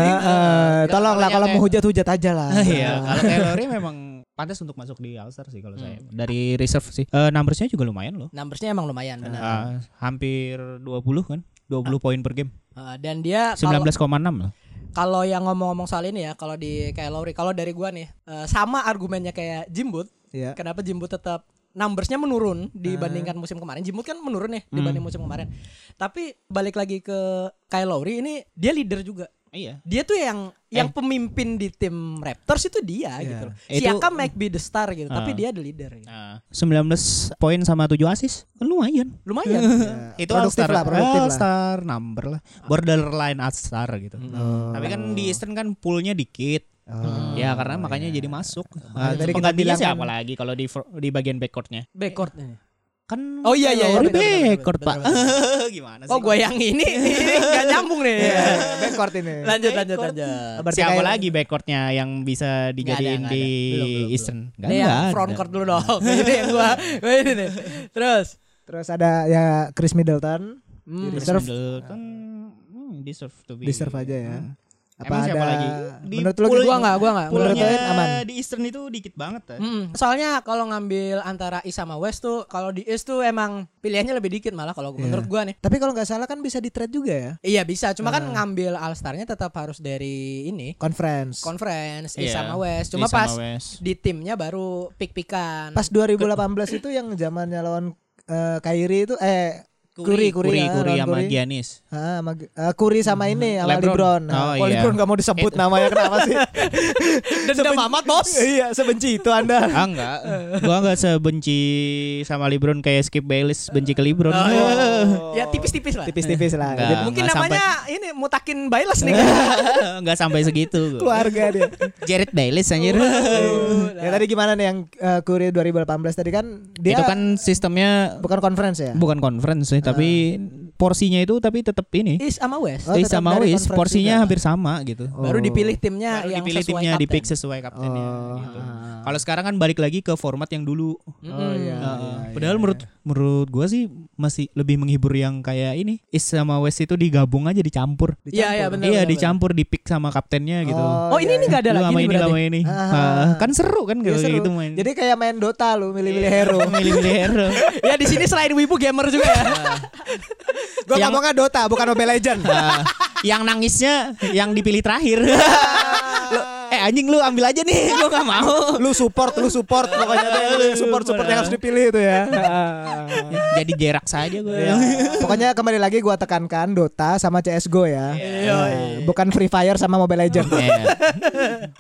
[SPEAKER 3] tolong lah eh, kalau mau hujat-hujat aja lah.
[SPEAKER 2] eh, Iya, kalau kayak Lowry memang pantas untuk masuk di All Star sih kalau
[SPEAKER 1] Hmm.
[SPEAKER 2] saya. Dari reserve sih. Eh numbersnya juga lumayan loh.
[SPEAKER 1] Numbersnya emang lumayan benar.
[SPEAKER 2] Ah, hampir 20 kan? 20 poin per game.
[SPEAKER 1] Ah, dan dia kalau-
[SPEAKER 2] 19,6 loh.
[SPEAKER 1] kalau yang ngomong-ngomong soal ini ya kalau di kayak Lowry kalau dari gua nih eh, sama argumennya kayak Jimbut.
[SPEAKER 3] Iya.
[SPEAKER 1] Kenapa Jimbut tetap numbersnya menurun
[SPEAKER 2] Eh.
[SPEAKER 1] dibandingkan musim kemarin? Jimbut kan menurun
[SPEAKER 2] Hmm.
[SPEAKER 1] nih dibanding musim kemarin. Tapi balik lagi ke Kyle Lowry ini dia leader juga.
[SPEAKER 2] Iya.
[SPEAKER 1] dia tuh yang yang pemimpin di tim Raptors itu dia gitu loh.
[SPEAKER 2] Eh. Iya. Itu-
[SPEAKER 1] Siakam might be the star gitu, tapi
[SPEAKER 2] Ah.
[SPEAKER 1] dia the leader. Gitu.
[SPEAKER 2] 19 poin sama 7 assist. Kan lumayan.
[SPEAKER 1] Lumayan.
[SPEAKER 2] itu
[SPEAKER 3] produktif
[SPEAKER 2] all-star
[SPEAKER 3] lah, produktif
[SPEAKER 2] all
[SPEAKER 3] lah.
[SPEAKER 2] star number lah borderline all star gitu tapi kan di Eastern kan poolnya dikit ya karena makanya jadi masuk nah,
[SPEAKER 3] tadi kita
[SPEAKER 2] penggantinya
[SPEAKER 3] bilang kan-
[SPEAKER 2] siapa lagi kalau di fro- di bagian backcourtnya
[SPEAKER 1] Backcourt ini.
[SPEAKER 2] kan
[SPEAKER 1] Oh, iya, iya, iya,
[SPEAKER 2] Lowry
[SPEAKER 1] benar, benar, benar,
[SPEAKER 2] backcourt
[SPEAKER 1] benar,
[SPEAKER 2] pak gimana sih
[SPEAKER 1] Oh, gue yang ini ini nggak nyambung nih.
[SPEAKER 3] Backcourt ini.
[SPEAKER 1] Lanjut lanjut
[SPEAKER 2] Iya. Backcourt.
[SPEAKER 1] lanjut.
[SPEAKER 3] Berarti
[SPEAKER 2] Eh, siapa
[SPEAKER 3] kayak-
[SPEAKER 2] lagi backcourtnya yang bisa dijadiin
[SPEAKER 1] nggak ada.
[SPEAKER 2] di
[SPEAKER 1] Belum, belum,
[SPEAKER 2] Eastern Nggak,
[SPEAKER 1] Ini
[SPEAKER 2] nggak
[SPEAKER 1] yang
[SPEAKER 2] ada.
[SPEAKER 1] front court dulu dong. ini yang gua gua ini nih. Terus
[SPEAKER 3] Terus ada ya Chris Middleton.
[SPEAKER 1] hmm,
[SPEAKER 3] Jadi-
[SPEAKER 2] Chris
[SPEAKER 3] Reserve.
[SPEAKER 2] Middleton, hmm, deserve to be
[SPEAKER 3] Di serve aja ya.
[SPEAKER 2] Hmm.
[SPEAKER 3] Apa
[SPEAKER 2] Emang
[SPEAKER 3] ada
[SPEAKER 2] siapa lagi? Di
[SPEAKER 3] Menurut lu
[SPEAKER 2] pool-
[SPEAKER 1] gua nggak gua nggak.
[SPEAKER 3] Menurut
[SPEAKER 2] Poolnya
[SPEAKER 3] kalian aman?
[SPEAKER 2] di Eastern itu dikit banget ya.
[SPEAKER 1] Mm-mm. Soalnya kalau ngambil antara East sama West tuh kalau di East tuh emang pilihannya lebih dikit malah
[SPEAKER 2] Iya.
[SPEAKER 1] kalau menurut gua nih.
[SPEAKER 3] Tapi kalau nggak salah kan bisa di trade juga ya.
[SPEAKER 1] Iya bisa, cuma
[SPEAKER 2] Ah.
[SPEAKER 1] kan ngambil All Star-nya tetap harus dari ini
[SPEAKER 3] Conference.
[SPEAKER 1] conference
[SPEAKER 3] Eh,
[SPEAKER 1] East
[SPEAKER 2] Iya,
[SPEAKER 1] sama West. Cuma
[SPEAKER 2] East sama
[SPEAKER 1] pas
[SPEAKER 2] West.
[SPEAKER 1] di timnya baru pik-pikan.
[SPEAKER 3] Pas 2018 itu yang zamannya lawan eh, Kyrie itu eh Kuri, Kuri,
[SPEAKER 2] Kuri,
[SPEAKER 3] ya,
[SPEAKER 2] Kuri
[SPEAKER 3] lawan
[SPEAKER 2] sama
[SPEAKER 3] Kuri.
[SPEAKER 2] Giannis.
[SPEAKER 3] Ah, sama, eh, Curry sama ini sama
[SPEAKER 2] Lebron.
[SPEAKER 3] LeBron.
[SPEAKER 2] Oh,
[SPEAKER 3] Oh,
[SPEAKER 2] iya.
[SPEAKER 3] LeBron nggak mau disebut namanya kenapa sih?
[SPEAKER 1] dendam amat, Bos.
[SPEAKER 3] iya, sebenci itu Anda.
[SPEAKER 2] Ah enggak, gua enggak sebenci sama LeBron kayak Skip Bayless benci ke LeBron.
[SPEAKER 1] Oh,
[SPEAKER 3] Oh, iya.
[SPEAKER 2] Oh.
[SPEAKER 1] Ya tipis-tipis lah. Nah,
[SPEAKER 3] Tipis-tipis lah.
[SPEAKER 2] Nggak.
[SPEAKER 3] Jadi
[SPEAKER 1] Mungkin
[SPEAKER 2] Nggak
[SPEAKER 1] namanya ini mutakin Bailes nih.
[SPEAKER 2] enggak sampai segitu. gua.
[SPEAKER 3] keluarga dia.
[SPEAKER 2] Jared Bayless anjir.
[SPEAKER 3] ya tadi gimana nih yang uh, Kuri 2018 tadi kan dia
[SPEAKER 2] Itu kan sistemnya
[SPEAKER 3] bukan conference ya?
[SPEAKER 2] bukan conference sih, tapi porsinya itu tapi tetap ini.
[SPEAKER 1] East sama West.
[SPEAKER 3] Ah. Oh,
[SPEAKER 2] Eh,
[SPEAKER 3] tetap dari
[SPEAKER 2] sama Wis
[SPEAKER 3] conference
[SPEAKER 2] porsinya
[SPEAKER 3] juga.
[SPEAKER 2] hampir sama gitu.
[SPEAKER 1] Baru dipilih timnya
[SPEAKER 2] Baru
[SPEAKER 1] yang
[SPEAKER 2] dipilih
[SPEAKER 1] sesuai
[SPEAKER 2] timnya di
[SPEAKER 1] kapten.
[SPEAKER 2] pick sesuai kaptennya
[SPEAKER 3] Oh.
[SPEAKER 2] gitu. Kalau sekarang kan balik lagi ke format yang dulu.
[SPEAKER 1] Mm-mm.
[SPEAKER 3] Oh iya.
[SPEAKER 2] Heeh.
[SPEAKER 3] iya,
[SPEAKER 2] Padahal
[SPEAKER 3] iya.
[SPEAKER 2] menurut menurut gua sih masih lebih menghibur yang kayak ini East sama West itu digabung aja dicampur.
[SPEAKER 1] Iya, iya benar.
[SPEAKER 2] iya
[SPEAKER 1] benar,
[SPEAKER 2] dicampur di pick sama kaptennya gitu.
[SPEAKER 1] benar. Oh, ini ini enggak ada
[SPEAKER 2] Lu
[SPEAKER 1] lagi
[SPEAKER 2] sama
[SPEAKER 1] nih
[SPEAKER 2] ini
[SPEAKER 1] berarti.
[SPEAKER 2] sama ini.
[SPEAKER 3] Ah.
[SPEAKER 2] Ah, kan seru kan
[SPEAKER 3] Iya,
[SPEAKER 2] kalau
[SPEAKER 3] seru.
[SPEAKER 2] gitu main. Iya.
[SPEAKER 3] Jadi kayak main Dota lu milih-milih hero.
[SPEAKER 2] milih-milih hero.
[SPEAKER 1] ya di sini selain wibu gamer juga ya.
[SPEAKER 2] Nah.
[SPEAKER 3] Gua
[SPEAKER 2] Yang-
[SPEAKER 3] ngomongnya Dota bukan Mobile Legend.
[SPEAKER 2] Ah, yang nangisnya yang dipilih terakhir. Lu, eh anjing lu ambil aja nih, gua nggak mau.
[SPEAKER 3] lu support, lu support pokoknya tuh support support yang harus dipilih itu ya.
[SPEAKER 2] Eh, Jadi jerak saja gua.
[SPEAKER 3] Ya. Pokoknya kembali lagi gua tekankan Dota sama CS:GO ya. Nah, Bukan Free Fire sama Mobile Legend.
[SPEAKER 2] Iya.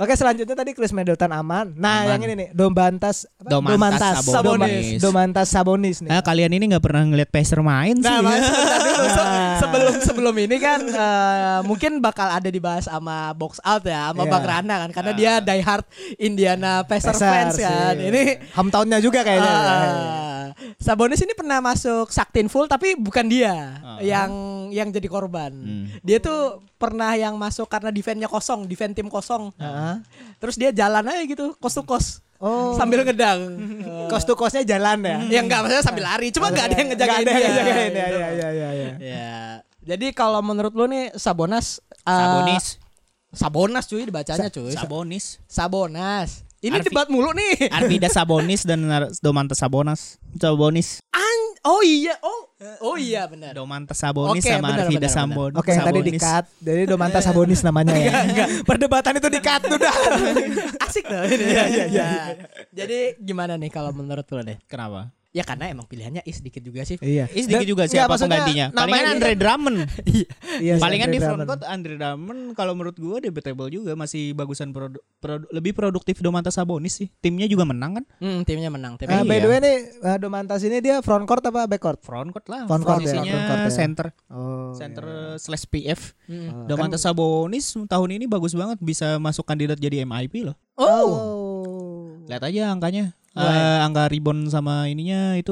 [SPEAKER 3] Oke, selanjutnya tadi Chris Middleton aman. Nah, yang ini nih Domantas apa?
[SPEAKER 2] Domantas Sabonis.
[SPEAKER 3] Sabonis. Domantas Sabonis nih.
[SPEAKER 2] Nah, kalian ini nggak pernah ngeliat Pacer main sih.
[SPEAKER 1] Nah, Mas, sebentar dulu. Se-
[SPEAKER 3] Nah.
[SPEAKER 1] sebelum sebelum ini kan eh, mungkin bakal ada dibahas sama box out ya, sama
[SPEAKER 3] Iya. Ah.
[SPEAKER 1] Bang Rana kan karena dia die hard Indiana Pacers fans
[SPEAKER 3] sih.
[SPEAKER 1] kan. Ini
[SPEAKER 3] hometownnya juga kayaknya.
[SPEAKER 1] ah, Sabonis ini pernah masuk Saktin full tapi bukan dia
[SPEAKER 3] Ah.
[SPEAKER 1] yang yang jadi korban.
[SPEAKER 3] Hmm.
[SPEAKER 1] Dia tuh pernah yang masuk karena defense-nya kosong, defense tim kosong. Terus dia jalan aja gitu, kos to kos.
[SPEAKER 3] Ah. Oh.
[SPEAKER 1] Sambil ngedang.
[SPEAKER 3] Kos to kosnya jalan
[SPEAKER 1] ya
[SPEAKER 3] ya.
[SPEAKER 1] enggak maksudnya sambil lari, cuma enggak ada yang ngejagain
[SPEAKER 3] Nggak ada yang
[SPEAKER 1] dia.
[SPEAKER 3] ngejagain, ya,
[SPEAKER 1] gitu.
[SPEAKER 3] ya, ya, ya, ya.
[SPEAKER 1] Ya. Jadi kalau menurut lu nih Sabonas eh,
[SPEAKER 2] Sabonis,
[SPEAKER 1] Sabonas cuy dibacanya cuy.
[SPEAKER 2] Sabonis,
[SPEAKER 1] Sabonas. Ini
[SPEAKER 2] Arfi-
[SPEAKER 1] debat mulu nih.
[SPEAKER 2] Arvida Sabonis dan Nar- Domantas Sabonas. Sabonis,
[SPEAKER 1] An- oh iya, oh oh iya benar.
[SPEAKER 2] Domantas Sabonis
[SPEAKER 1] Oke,
[SPEAKER 2] sama
[SPEAKER 1] benar,
[SPEAKER 2] Arvida
[SPEAKER 1] benar,
[SPEAKER 2] Sambon.
[SPEAKER 3] Oke, yang tadi
[SPEAKER 2] Sabonis.
[SPEAKER 3] di-cut. Jadi Domantas Sabonis namanya ya. Perdebatan itu di-cut udah.
[SPEAKER 1] Asik tuh ini. Iya, iya, iya. Jadi gimana nih kalau menurut lu deh?
[SPEAKER 2] Kenapa?
[SPEAKER 1] Ya karena emang pilihannya is dikit juga sih.
[SPEAKER 3] iya.
[SPEAKER 2] Is
[SPEAKER 3] Dan-
[SPEAKER 2] dikit juga
[SPEAKER 3] nggak,
[SPEAKER 2] siapa
[SPEAKER 3] maksudnya
[SPEAKER 2] penggantinya? Palingan
[SPEAKER 3] namanya-
[SPEAKER 2] Andre Drummond.
[SPEAKER 3] Iya,
[SPEAKER 2] Palingan
[SPEAKER 3] Andre
[SPEAKER 2] di front
[SPEAKER 3] Drummond.
[SPEAKER 2] court Andre Drummond kalau menurut gua debatable juga masih bagusan produ- produ- lebih produktif Domantas Sabonis sih. Timnya juga menang kan?
[SPEAKER 1] Hmm, timnya menang,
[SPEAKER 3] Nah,
[SPEAKER 1] timnya.
[SPEAKER 2] Eh,
[SPEAKER 3] by
[SPEAKER 2] Iya.
[SPEAKER 3] the way nih eh, Domantas ini dia front court apa back court?
[SPEAKER 2] Front court lah.
[SPEAKER 3] Front court ya,
[SPEAKER 2] Posisinya
[SPEAKER 3] front court ya.
[SPEAKER 2] center,
[SPEAKER 3] Oh.
[SPEAKER 2] center slash PF.
[SPEAKER 1] Hmm.
[SPEAKER 2] Domantas Sabonis tahun ini bagus banget bisa masuk kandidat jadi MIP loh.
[SPEAKER 1] Oh,
[SPEAKER 2] Lihat aja angkanya. Eh, angka rebound sama ininya itu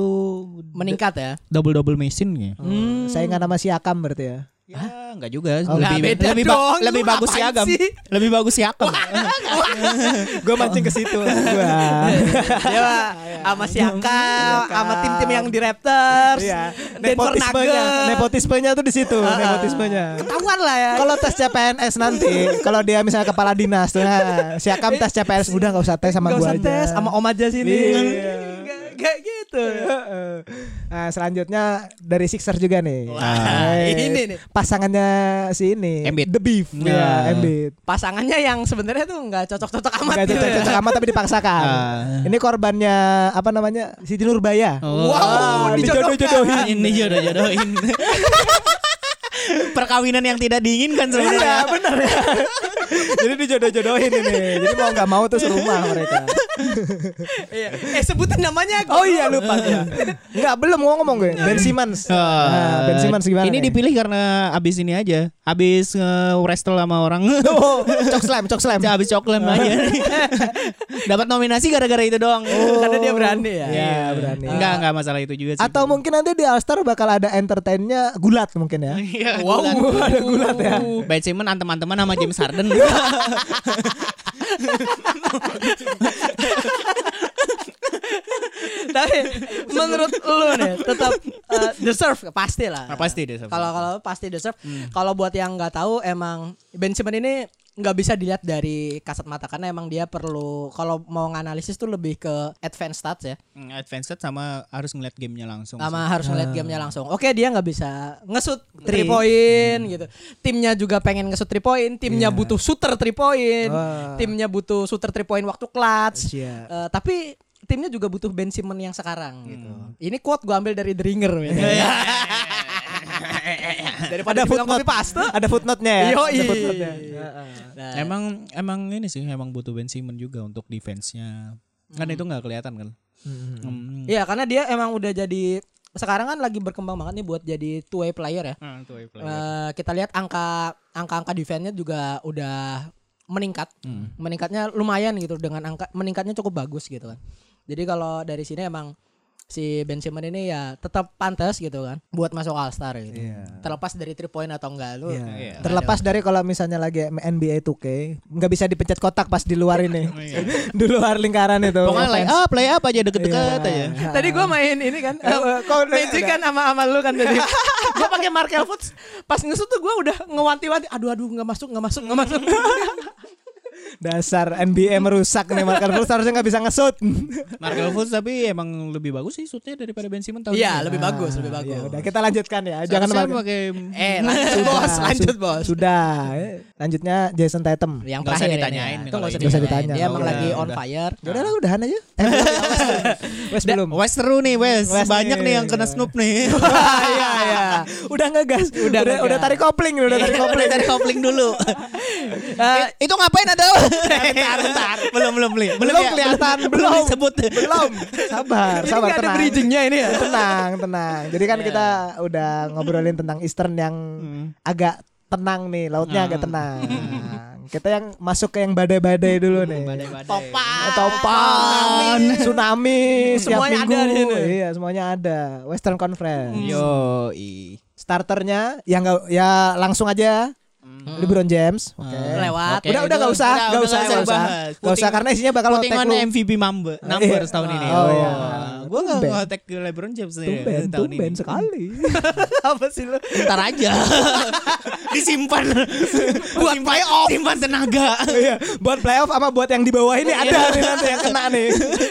[SPEAKER 1] meningkat ya.
[SPEAKER 2] double double mesin ya.
[SPEAKER 1] Hmm.
[SPEAKER 3] Saya nggak nama Siakam berarti ya.
[SPEAKER 2] Ya, enggak juga.
[SPEAKER 3] Oh,
[SPEAKER 1] lah,
[SPEAKER 2] lebih
[SPEAKER 1] beda
[SPEAKER 2] lebih, ba-
[SPEAKER 1] dong. Lu
[SPEAKER 2] lebih bagus
[SPEAKER 1] ngapain
[SPEAKER 2] siagam.
[SPEAKER 1] sih?
[SPEAKER 2] Lebih bagus siagam.
[SPEAKER 3] Gue mancing ke situ. Gua.
[SPEAKER 1] Dia mah sama Siakam, sama tim-tim yang di Raptors.
[SPEAKER 3] Iya.
[SPEAKER 1] Denver
[SPEAKER 3] Nepotismenya,
[SPEAKER 1] Nuggets.
[SPEAKER 3] nepotismenya tuh di situ, nepotismenya.
[SPEAKER 1] Ketahuan lah ya.
[SPEAKER 3] Kalau tes CPNS nanti, kalau dia misalnya kepala dinas tuh, nah, siakam tes CPNS udah nggak usah tes sama
[SPEAKER 1] Gak
[SPEAKER 3] gua
[SPEAKER 1] usah
[SPEAKER 3] aja.
[SPEAKER 1] tes sama om aja sini.
[SPEAKER 3] Iya.
[SPEAKER 1] Gak, gak gitu.
[SPEAKER 3] Nah, selanjutnya dari Sixer juga nih.
[SPEAKER 1] Wah,
[SPEAKER 3] Eh,
[SPEAKER 1] ini nih.
[SPEAKER 3] Pasangannya si ini.
[SPEAKER 2] Embiid.
[SPEAKER 3] The Beef.
[SPEAKER 2] Nah.
[SPEAKER 3] Ya, Embiid.
[SPEAKER 1] Pasangannya yang sebenarnya tuh nggak cocok-cocok amat
[SPEAKER 3] Gak
[SPEAKER 1] gitu. ya.
[SPEAKER 3] cocok-cocok amat tapi dipaksakan.
[SPEAKER 2] Ah.
[SPEAKER 3] Ini korbannya apa namanya? Siti Nurbaya.
[SPEAKER 1] Wow, dijodohkan.
[SPEAKER 2] dijodohin. Ini jodoh-jodohin. Perkawinan yang tidak diinginkan sebenarnya.
[SPEAKER 3] bener ya. Jadi dijodoh-jodohin ini. Jadi mau nggak mau tuh serumah mereka.
[SPEAKER 1] Iya. Eh sebutin namanya.
[SPEAKER 3] Oh iya lupa ya. Enggak belum mau ngomong gue. Ben Simmons. Nah, ben Simmons gimana?
[SPEAKER 2] Ah, Ini
[SPEAKER 3] nih?
[SPEAKER 2] dipilih karena abis ini aja, abis nge-wrestle sama orang.
[SPEAKER 3] Oh, cok slam, cok slam.
[SPEAKER 2] Ya, abis coklat aja. Dapat nominasi gara-gara itu doang.
[SPEAKER 1] Karena dia berani ya.
[SPEAKER 3] Oh, Iya, berani.
[SPEAKER 2] Enggak, enggak masalah itu juga sih.
[SPEAKER 3] Atau mungkin nanti di All Star bakal ada entertainnya gulat mungkin ya.
[SPEAKER 2] Iya,
[SPEAKER 1] Wow,
[SPEAKER 2] gulat.
[SPEAKER 1] ada gulat ya.
[SPEAKER 2] Ben Simmons antem-anteman sama James Harden. Nah,
[SPEAKER 1] Tapi menurut lu nih tetap eh, deserve pasti lah.
[SPEAKER 2] Ah, pasti deserve.
[SPEAKER 1] Kalau kalau pasti deserve.
[SPEAKER 3] Hmm.
[SPEAKER 1] Kalau buat yang nggak tahu emang Ben Simmons ini nggak bisa dilihat dari kasat mata karena emang dia perlu kalau mau nganalisis tuh lebih ke advanced stats ya.
[SPEAKER 2] Hmm, Advanced sama harus ngeliat gamenya langsung.
[SPEAKER 1] sama harus ngeliat gamenya langsung. Oke dia nggak bisa ngesut three point gitu. Timnya juga pengen ngesut three point. Timnya butuh shooter three point.
[SPEAKER 3] Wah.
[SPEAKER 1] Timnya butuh shooter three point waktu clutch.
[SPEAKER 3] Iya.
[SPEAKER 1] Eh, tapi timnya juga butuh Ben Simmons yang sekarang gitu. Ini quote gue ambil dari The Ringer. gitu. Daripada bilang copy paste.
[SPEAKER 3] Ada footnote-nya ya.
[SPEAKER 1] Yoi.
[SPEAKER 3] Ada footnote-nya.
[SPEAKER 1] Nah,
[SPEAKER 2] Emang emang ini sih emang butuh Ben Simmons juga untuk defense-nya. Kan itu nggak kelihatan kan. Hmm.
[SPEAKER 1] Iya karena dia emang udah jadi sekarang kan lagi berkembang banget nih buat jadi two way player ya.
[SPEAKER 2] Ah, itu ya,
[SPEAKER 3] Nah,
[SPEAKER 2] player.
[SPEAKER 1] Eh, kita lihat angka angka-angka defense-nya juga udah meningkat.
[SPEAKER 3] Hmm.
[SPEAKER 1] Meningkatnya lumayan gitu dengan angka meningkatnya cukup bagus gitu kan. Jadi kalau dari sini emang si Ben Simmons ini ya tetap pantas gitu kan buat masuk All Star gitu.
[SPEAKER 3] Iya.
[SPEAKER 1] Terlepas dari three point atau enggak lu.
[SPEAKER 3] Iya.
[SPEAKER 2] Iya.
[SPEAKER 3] Terlepas dari kalau misalnya lagi NBA 2K, nggak bisa dipencet kotak pas di luar ini. di luar lingkaran itu.
[SPEAKER 2] Pokoknya lay up, lay up aja deket-deket aja.
[SPEAKER 1] Tadi gua main ini kan eh, Magic kan sama sama lu kan tadi. gua pakai Markel Fultz pas ngesut tuh gua udah ngewanti-wanti aduh aduh nggak masuk nggak masuk nggak masuk.
[SPEAKER 3] Dasar NBA merusak nih Marker Fultz harusnya nggak bisa ngesut.
[SPEAKER 2] Markel Fultz tapi emang lebih bagus sih shootnya daripada Ben Simmons tahun
[SPEAKER 1] Iya,
[SPEAKER 2] ini.
[SPEAKER 1] lebih bagus, lebih
[SPEAKER 3] Ya
[SPEAKER 1] bagus.
[SPEAKER 3] udah kita lanjutkan ya. Jangan
[SPEAKER 2] Seharusnya
[SPEAKER 3] Markel-
[SPEAKER 2] pakai
[SPEAKER 1] Eh, lanjut bos, lanjut bos.
[SPEAKER 3] Sudah. Lanjutnya Jason Tatum.
[SPEAKER 1] Yang
[SPEAKER 2] Nggak usah
[SPEAKER 1] terakhir ini,
[SPEAKER 2] ditanyain
[SPEAKER 1] ya.
[SPEAKER 2] nih
[SPEAKER 1] Itu nggak
[SPEAKER 2] kalau
[SPEAKER 1] usah
[SPEAKER 2] ini.
[SPEAKER 3] Nggak usah
[SPEAKER 1] ditanyain. Dia
[SPEAKER 3] ditanya.
[SPEAKER 1] emang
[SPEAKER 2] Udah,
[SPEAKER 1] lagi on
[SPEAKER 2] udah.
[SPEAKER 1] fire.
[SPEAKER 3] Ya udahlah udahan aja. Eh, belum ya, Wes. Wes belum.
[SPEAKER 2] Wes seru nih Wes,
[SPEAKER 3] Wes
[SPEAKER 2] banyak
[SPEAKER 3] nih.
[SPEAKER 2] nih yang kena snoop nih.
[SPEAKER 1] Iya, iya.
[SPEAKER 3] udah ngegas. Udah udah,
[SPEAKER 1] ngegas. Iya.
[SPEAKER 3] tarik kopling, udah tarik kopling.
[SPEAKER 2] dari kopling dulu. Eh, itu ngapain ada? bentar, bentar. Belum belum beli. Belum, ya?
[SPEAKER 3] kelihatan,
[SPEAKER 2] belum,
[SPEAKER 3] belum.
[SPEAKER 2] disebut.
[SPEAKER 3] Belum. Sabar,
[SPEAKER 1] Ini
[SPEAKER 3] sabar
[SPEAKER 1] nggak ada
[SPEAKER 3] tenang.
[SPEAKER 1] bridgingnya ini ya. Iya.
[SPEAKER 3] Tenang, tenang. Jadi kan kita udah ngobrolin tentang Eastern yang
[SPEAKER 1] Hmm.
[SPEAKER 3] agak tenang nih, lautnya agak tenang. Kita yang masuk ke yang badai-badai
[SPEAKER 1] Hmm,
[SPEAKER 3] dulu nih.
[SPEAKER 1] Topan.
[SPEAKER 3] Topan, tsunami, setiap
[SPEAKER 1] Semuanya
[SPEAKER 3] minggu.
[SPEAKER 1] ada nih, nih.
[SPEAKER 3] Iya, semuanya ada. Western Conference.
[SPEAKER 2] Hmm. Yo,
[SPEAKER 3] Starternya yang nggak ya langsung aja LeBron James. Oke.
[SPEAKER 1] Lewat.
[SPEAKER 2] Hmm. Oke.
[SPEAKER 3] Udah udah nggak usah,
[SPEAKER 2] Udah,
[SPEAKER 3] nggak usah,
[SPEAKER 2] udah, nggak
[SPEAKER 3] nggak
[SPEAKER 2] usah
[SPEAKER 3] usah. Nggak
[SPEAKER 2] dibahas.
[SPEAKER 3] usah
[SPEAKER 2] Puting-
[SPEAKER 3] karena isinya bakal
[SPEAKER 2] Voting
[SPEAKER 3] tag
[SPEAKER 2] on
[SPEAKER 3] lu.
[SPEAKER 2] MVP number, number
[SPEAKER 3] Iya.
[SPEAKER 2] tahun ini.
[SPEAKER 3] Oh, iya.
[SPEAKER 2] Gue gak
[SPEAKER 3] Tumben.
[SPEAKER 2] nge-tag LeBron James nih
[SPEAKER 3] Tumben,
[SPEAKER 2] tahun
[SPEAKER 3] tumben
[SPEAKER 2] ini.
[SPEAKER 3] sekali.
[SPEAKER 1] Apa sih lu?
[SPEAKER 2] Ntar aja. Disimpan. Buat playoff. Simpan tenaga.
[SPEAKER 3] Iya, buat playoff apa buat yang di bawah
[SPEAKER 2] Iya.
[SPEAKER 3] ini ada nih nanti yang kena nih.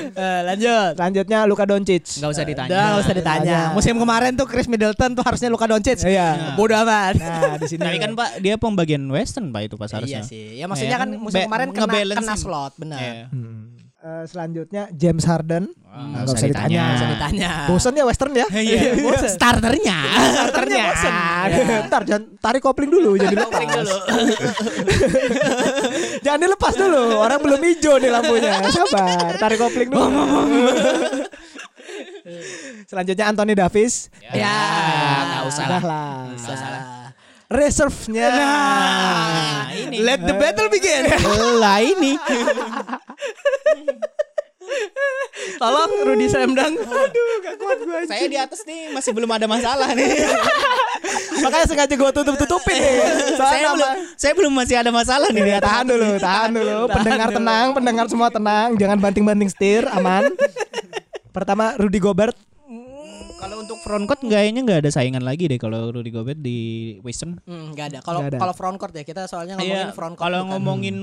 [SPEAKER 1] Eh, lanjut.
[SPEAKER 3] Selanjutnya Luka Doncic.
[SPEAKER 2] Gak usah ditanya.
[SPEAKER 1] Udah nggak usah ditanya.
[SPEAKER 3] Tanya.
[SPEAKER 1] Musim kemarin tuh Chris Middleton tuh harusnya Luka Doncic.
[SPEAKER 3] Iya.
[SPEAKER 1] Bodoh amat.
[SPEAKER 3] Nah, di sini
[SPEAKER 2] Tapi kan Pak, dia pembagian Western Pak itu pas
[SPEAKER 1] Iya
[SPEAKER 2] harusnya.
[SPEAKER 1] sih. Ya maksudnya
[SPEAKER 2] Iya.
[SPEAKER 1] kan musim
[SPEAKER 2] Be-
[SPEAKER 1] kemarin kena
[SPEAKER 2] ngebalancing.
[SPEAKER 1] kena slot, benar.
[SPEAKER 2] Iya.
[SPEAKER 3] Eh, selanjutnya James Harden.
[SPEAKER 2] nggak
[SPEAKER 3] Nggak
[SPEAKER 2] usah ditanya.
[SPEAKER 1] Nggak usah
[SPEAKER 2] Nah.
[SPEAKER 1] ditanya.
[SPEAKER 3] Bosan ya Western ya?
[SPEAKER 2] Iya. Starternya.
[SPEAKER 3] Starternya bosan.
[SPEAKER 1] Iya.
[SPEAKER 3] Ntar jangan tarik kopling dulu jadi lepas. jangan dilepas dulu. Orang belum hijau nih lampunya. Sabar, tarik kopling dulu. Selanjutnya Anthony Davis.
[SPEAKER 1] Ya,
[SPEAKER 2] nggak usah lah.
[SPEAKER 3] Udah lah.
[SPEAKER 1] Nggak usah lah.
[SPEAKER 3] Reserve-nya.
[SPEAKER 2] Nah, ini.
[SPEAKER 1] Let the battle begin.
[SPEAKER 2] lah ini.
[SPEAKER 1] Tolong Rudy Sremdang.
[SPEAKER 2] Saya di atas nih masih belum ada masalah nih.
[SPEAKER 3] Makanya sengaja gue tutup-tutupin nih. Soalnya
[SPEAKER 2] saya
[SPEAKER 3] nama- Iya,
[SPEAKER 2] belum saya belum masih ada masalah nih di atas.
[SPEAKER 3] tahan dulu, tahan dulu. Pendengar tenang, pendengar semua tenang. Jangan banting-banting setir, aman. Pertama Rudy Gobert.
[SPEAKER 2] Kalau untuk front court kayaknya nggak ada saingan lagi deh kalau Rudy Gobert di Western.
[SPEAKER 1] Hmm, gak ada. Kalau
[SPEAKER 3] Nggak ada.
[SPEAKER 1] kalau front court ya kita soalnya ngomongin
[SPEAKER 2] Iya,
[SPEAKER 1] front court. gitu kan.
[SPEAKER 2] kalau
[SPEAKER 1] bukan.
[SPEAKER 2] ngomongin